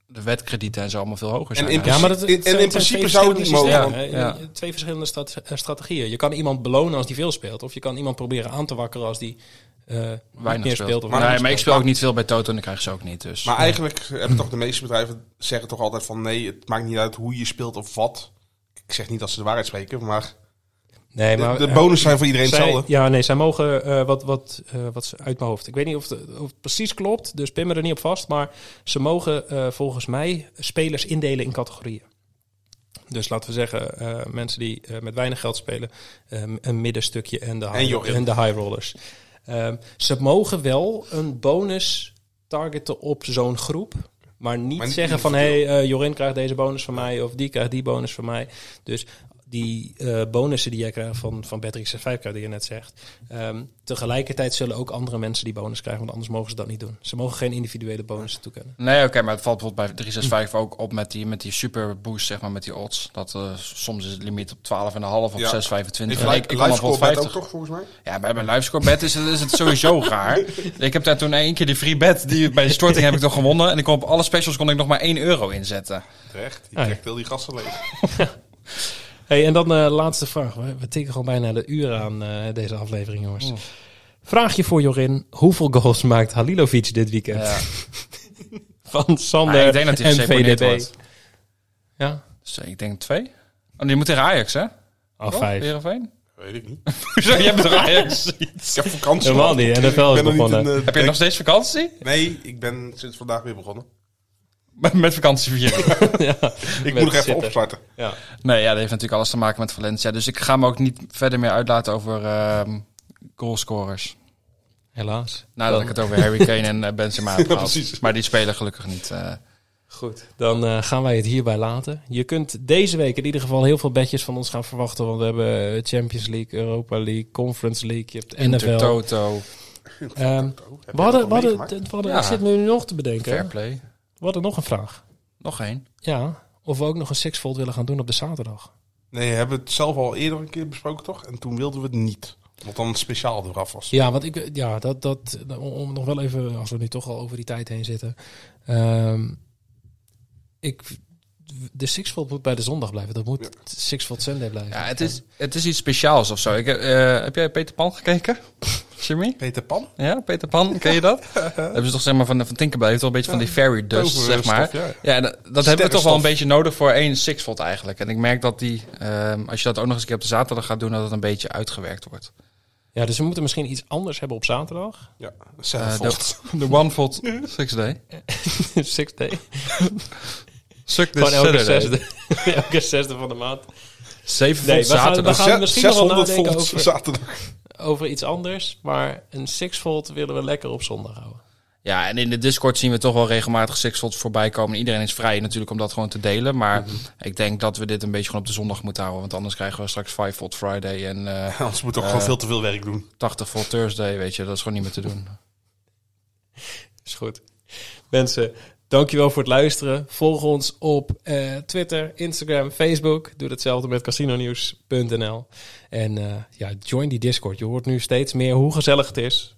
Speaker 6: de wetkredieten en zo allemaal veel hoger zijn.
Speaker 7: in
Speaker 6: eigenlijk.
Speaker 7: principe- en in
Speaker 1: zijn
Speaker 7: principe
Speaker 1: twee
Speaker 7: zou het
Speaker 1: verschillende
Speaker 7: niet mogen,
Speaker 1: systemen,
Speaker 6: want-
Speaker 1: hè. Twee verschillende strat- eh, strategieën. Je kan iemand belonen als die veel speelt. Of je kan iemand proberen aan te wakkeren als die eh, niet
Speaker 6: weinig
Speaker 1: meer
Speaker 6: speelt.
Speaker 1: speelt. of
Speaker 6: maar,
Speaker 1: weinig
Speaker 6: nee, maar ik
Speaker 1: speelt.
Speaker 6: speel ook niet veel bij Toto en ik krijg ze ook niet. Dus.
Speaker 7: Maar eigenlijk hebben toch de meeste bedrijven zeggen toch altijd van nee, het maakt niet uit hoe je speelt of wat. Ik zeg niet dat ze de waarheid spreken, maar
Speaker 1: Nee,
Speaker 7: de,
Speaker 1: maar
Speaker 7: de
Speaker 1: eh,
Speaker 7: bonus zijn voor iedereen
Speaker 1: zij-
Speaker 7: hetzelfde.
Speaker 1: Ja, nee, zij mogen eh, wat, wat, eh, wat ze uit mijn hoofd. Ik weet niet of, het- of het precies klopt, dus pin me er niet op vast. Maar ze mogen eh, volgens mij spelers indelen in categorieën. Dus laten we zeggen, eh, mensen die eh, met weinig geld spelen, eh, een middenstukje en de
Speaker 7: En
Speaker 1: high,
Speaker 7: jochie.
Speaker 1: de high rollers. Ehm, ze mogen wel een bonus targeten op zo'n groep. Maar niet
Speaker 7: Maar niet
Speaker 1: zeggen van, hé, hey,
Speaker 7: individueel.
Speaker 1: eh, Jorin krijgt deze bonus van mij... of die krijgt die bonus van mij. Dus die eh, bonussen die jij krijgt van, van Patrick Vijfka, die je net zegt... ehm, tegelijkertijd zullen ook andere mensen die bonus krijgen... want anders mogen ze dat niet doen. Ze mogen geen individuele bonussen toekennen.
Speaker 6: Nee, oké, maar het valt bijvoorbeeld bij 365 ook op met die, met die super boost, zeg maar, met die odds. Dat eh, soms is het limiet op 12,5 of
Speaker 7: Ja.
Speaker 6: 6,25.
Speaker 7: Is
Speaker 6: En
Speaker 7: li-
Speaker 6: ik- ik kan op
Speaker 7: livescore bet
Speaker 6: 50.
Speaker 7: ook toch volgens mij?
Speaker 6: Ja, bij mijn livescore bet is het, is het sowieso raar. Ik heb daar toen één keer die free bet, die, bij de storting heb ik toch gewonnen. En ik kon op alle specials kon ik nog maar 1 euro inzetten.
Speaker 7: Terecht, je
Speaker 1: Ah, ja.
Speaker 7: trekt heel die gasten leeg.
Speaker 1: Hey, en dan de laatste vraag. We, we tikken gewoon bijna de uur aan eh, deze aflevering, jongens.
Speaker 6: Mm.
Speaker 1: Vraagje voor Jorin. Hoeveel goals maakt Halilovic dit weekend?
Speaker 6: Ja.
Speaker 1: [LAUGHS] Van Sander
Speaker 6: Ah, ik denk dat hij
Speaker 1: en
Speaker 6: geseponeerd
Speaker 1: VDB.
Speaker 6: wordt.
Speaker 1: Ja?
Speaker 6: Dus eh, ik denk twee. Oh, die moet tegen Ajax, hè?
Speaker 1: Al vijf.
Speaker 6: Heerenveen?
Speaker 7: Weet ik niet.
Speaker 6: Hoezo, jij bent toch Ajax?
Speaker 7: Ik heb vakantie.
Speaker 1: Helemaal niet, NFL is
Speaker 7: Ik ben nog niet
Speaker 1: begonnen.
Speaker 7: in, eh,
Speaker 6: Heb je nog steeds vakantie? [LAUGHS]
Speaker 7: Nee, ik ben sinds vandaag weer begonnen.
Speaker 6: Met, met vakantie vieren.
Speaker 7: Ik moet nog even opstarten.
Speaker 1: Ja.
Speaker 6: Nee, ja, dat heeft natuurlijk alles te maken met Valencia. Dus ik ga me ook niet verder meer uitlaten over ehm goalscorers.
Speaker 1: Helaas.
Speaker 6: Nadat
Speaker 1: Dan-
Speaker 6: ik het over Harry Kane en eh, Benzema heb gehad.
Speaker 7: precies.
Speaker 6: maar die spelen gelukkig niet. eh.
Speaker 1: Goed, dan eh, gaan wij het hierbij laten. Je kunt deze week in ieder geval heel veel bedjes van ons gaan verwachten. Want we hebben eh, Champions League, Europa League, Conference League, je hebt NFL.
Speaker 6: Toto,
Speaker 1: Ehm,
Speaker 7: Heb
Speaker 1: we
Speaker 7: je dat
Speaker 1: hadden,
Speaker 7: al
Speaker 1: we hadden,
Speaker 7: meegemaakt?
Speaker 1: we hadden-
Speaker 6: Ja.
Speaker 1: Ik zit me nu nog te bedenken.
Speaker 6: Fair Play.
Speaker 1: We hadden nog een vraag.
Speaker 6: Nog één.
Speaker 1: Ja, of we ook nog een sixfold willen gaan doen op de zaterdag.
Speaker 7: Nee, we hebben het zelf al eerder een keer besproken, toch? En toen wilden we het niet. Omdat dan het speciaal eraf was.
Speaker 1: Ja, want ik, ja, dat, dat, om- om nog wel even, als we nu toch al over die tijd heen zitten. Ehm, ik, de sixfold moet bij de zondag blijven. Dat moet sixfold Sunday blijven.
Speaker 6: Ja, het is, het is iets speciaals of zo. Ik, eh, heb jij Peter Pan
Speaker 1: [LAUGHS]
Speaker 6: gekeken? Jimmy?
Speaker 7: Peter Pan?
Speaker 6: Ja, Peter Pan, ken je dat? hebben ze toch zeg maar van, van Tinkerbell, heeft toch een beetje van die fairy dust, zeg
Speaker 1: eh,
Speaker 7: toverstof,
Speaker 6: maar.
Speaker 7: ja.
Speaker 6: Ja, en dat, dat hebben we toch wel een
Speaker 7: Sterrenstof.
Speaker 6: beetje nodig voor één sixfold eigenlijk. En ik merk dat die, ehm, als je dat ook nog eens een keer op de zaterdag gaat doen, dat het een beetje uitgewerkt wordt.
Speaker 1: Ja, dus we moeten misschien iets anders hebben op
Speaker 7: [LAUGHS]
Speaker 1: zaterdag.
Speaker 7: Ja,
Speaker 6: Eh,
Speaker 7: zelfvold.
Speaker 6: de, de
Speaker 1: [LAUGHS]
Speaker 6: onefold six day.
Speaker 1: Six day.
Speaker 6: Suck this
Speaker 1: Gewoon elke
Speaker 6: Saturday.
Speaker 1: zesde. elke zesde van de maand.
Speaker 6: Zeven
Speaker 1: Nee,
Speaker 6: nee,
Speaker 1: we gaan- we
Speaker 6: zaterdag.
Speaker 1: gaan- misschien nog wel nadenken
Speaker 7: volt
Speaker 1: over-
Speaker 7: zaterdag.
Speaker 1: Over iets anders. Maar een sixfold willen we lekker op zondag houden.
Speaker 6: Ja, en in de Discord zien we toch wel regelmatig sixfolds voorbij komen. Iedereen is vrij natuurlijk om dat gewoon te delen. Maar ik denk dat we dit een beetje gewoon op de zondag moeten houden. Want anders krijgen we straks fivefold Friday en eh
Speaker 7: [LAUGHS] Anders moet ook gewoon veel te veel werk doen.
Speaker 6: 80-fold Thursday. Weet je, dat is gewoon niet meer te doen.
Speaker 1: Is goed. Mensen, dankjewel voor het luisteren. Volg ons op eh, Twitter, Instagram, Facebook. Doe datzelfde met casinonieuws.nl. En eh, ja, join die Discord. Je hoort nu steeds meer hoe gezellig het is.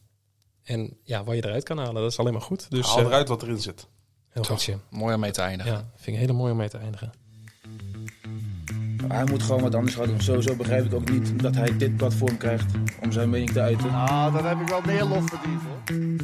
Speaker 1: En ja, wat je eruit kan halen, dat is alleen maar goed. Dus
Speaker 7: Haal
Speaker 1: eh,
Speaker 7: eruit wat erin zit.
Speaker 1: heel goed, Jim.
Speaker 6: Mooi om mee te eindigen.
Speaker 1: Ja, vind ik heel mooi om mee te eindigen.
Speaker 10: Hij moet gewoon wat anders gaan doen. Sowieso begrijp ik ook niet dat hij dit platform krijgt om zijn mening te uiten.
Speaker 5: Nou,
Speaker 3: Ah, dat heb ik wel meer lof verdiend hoor.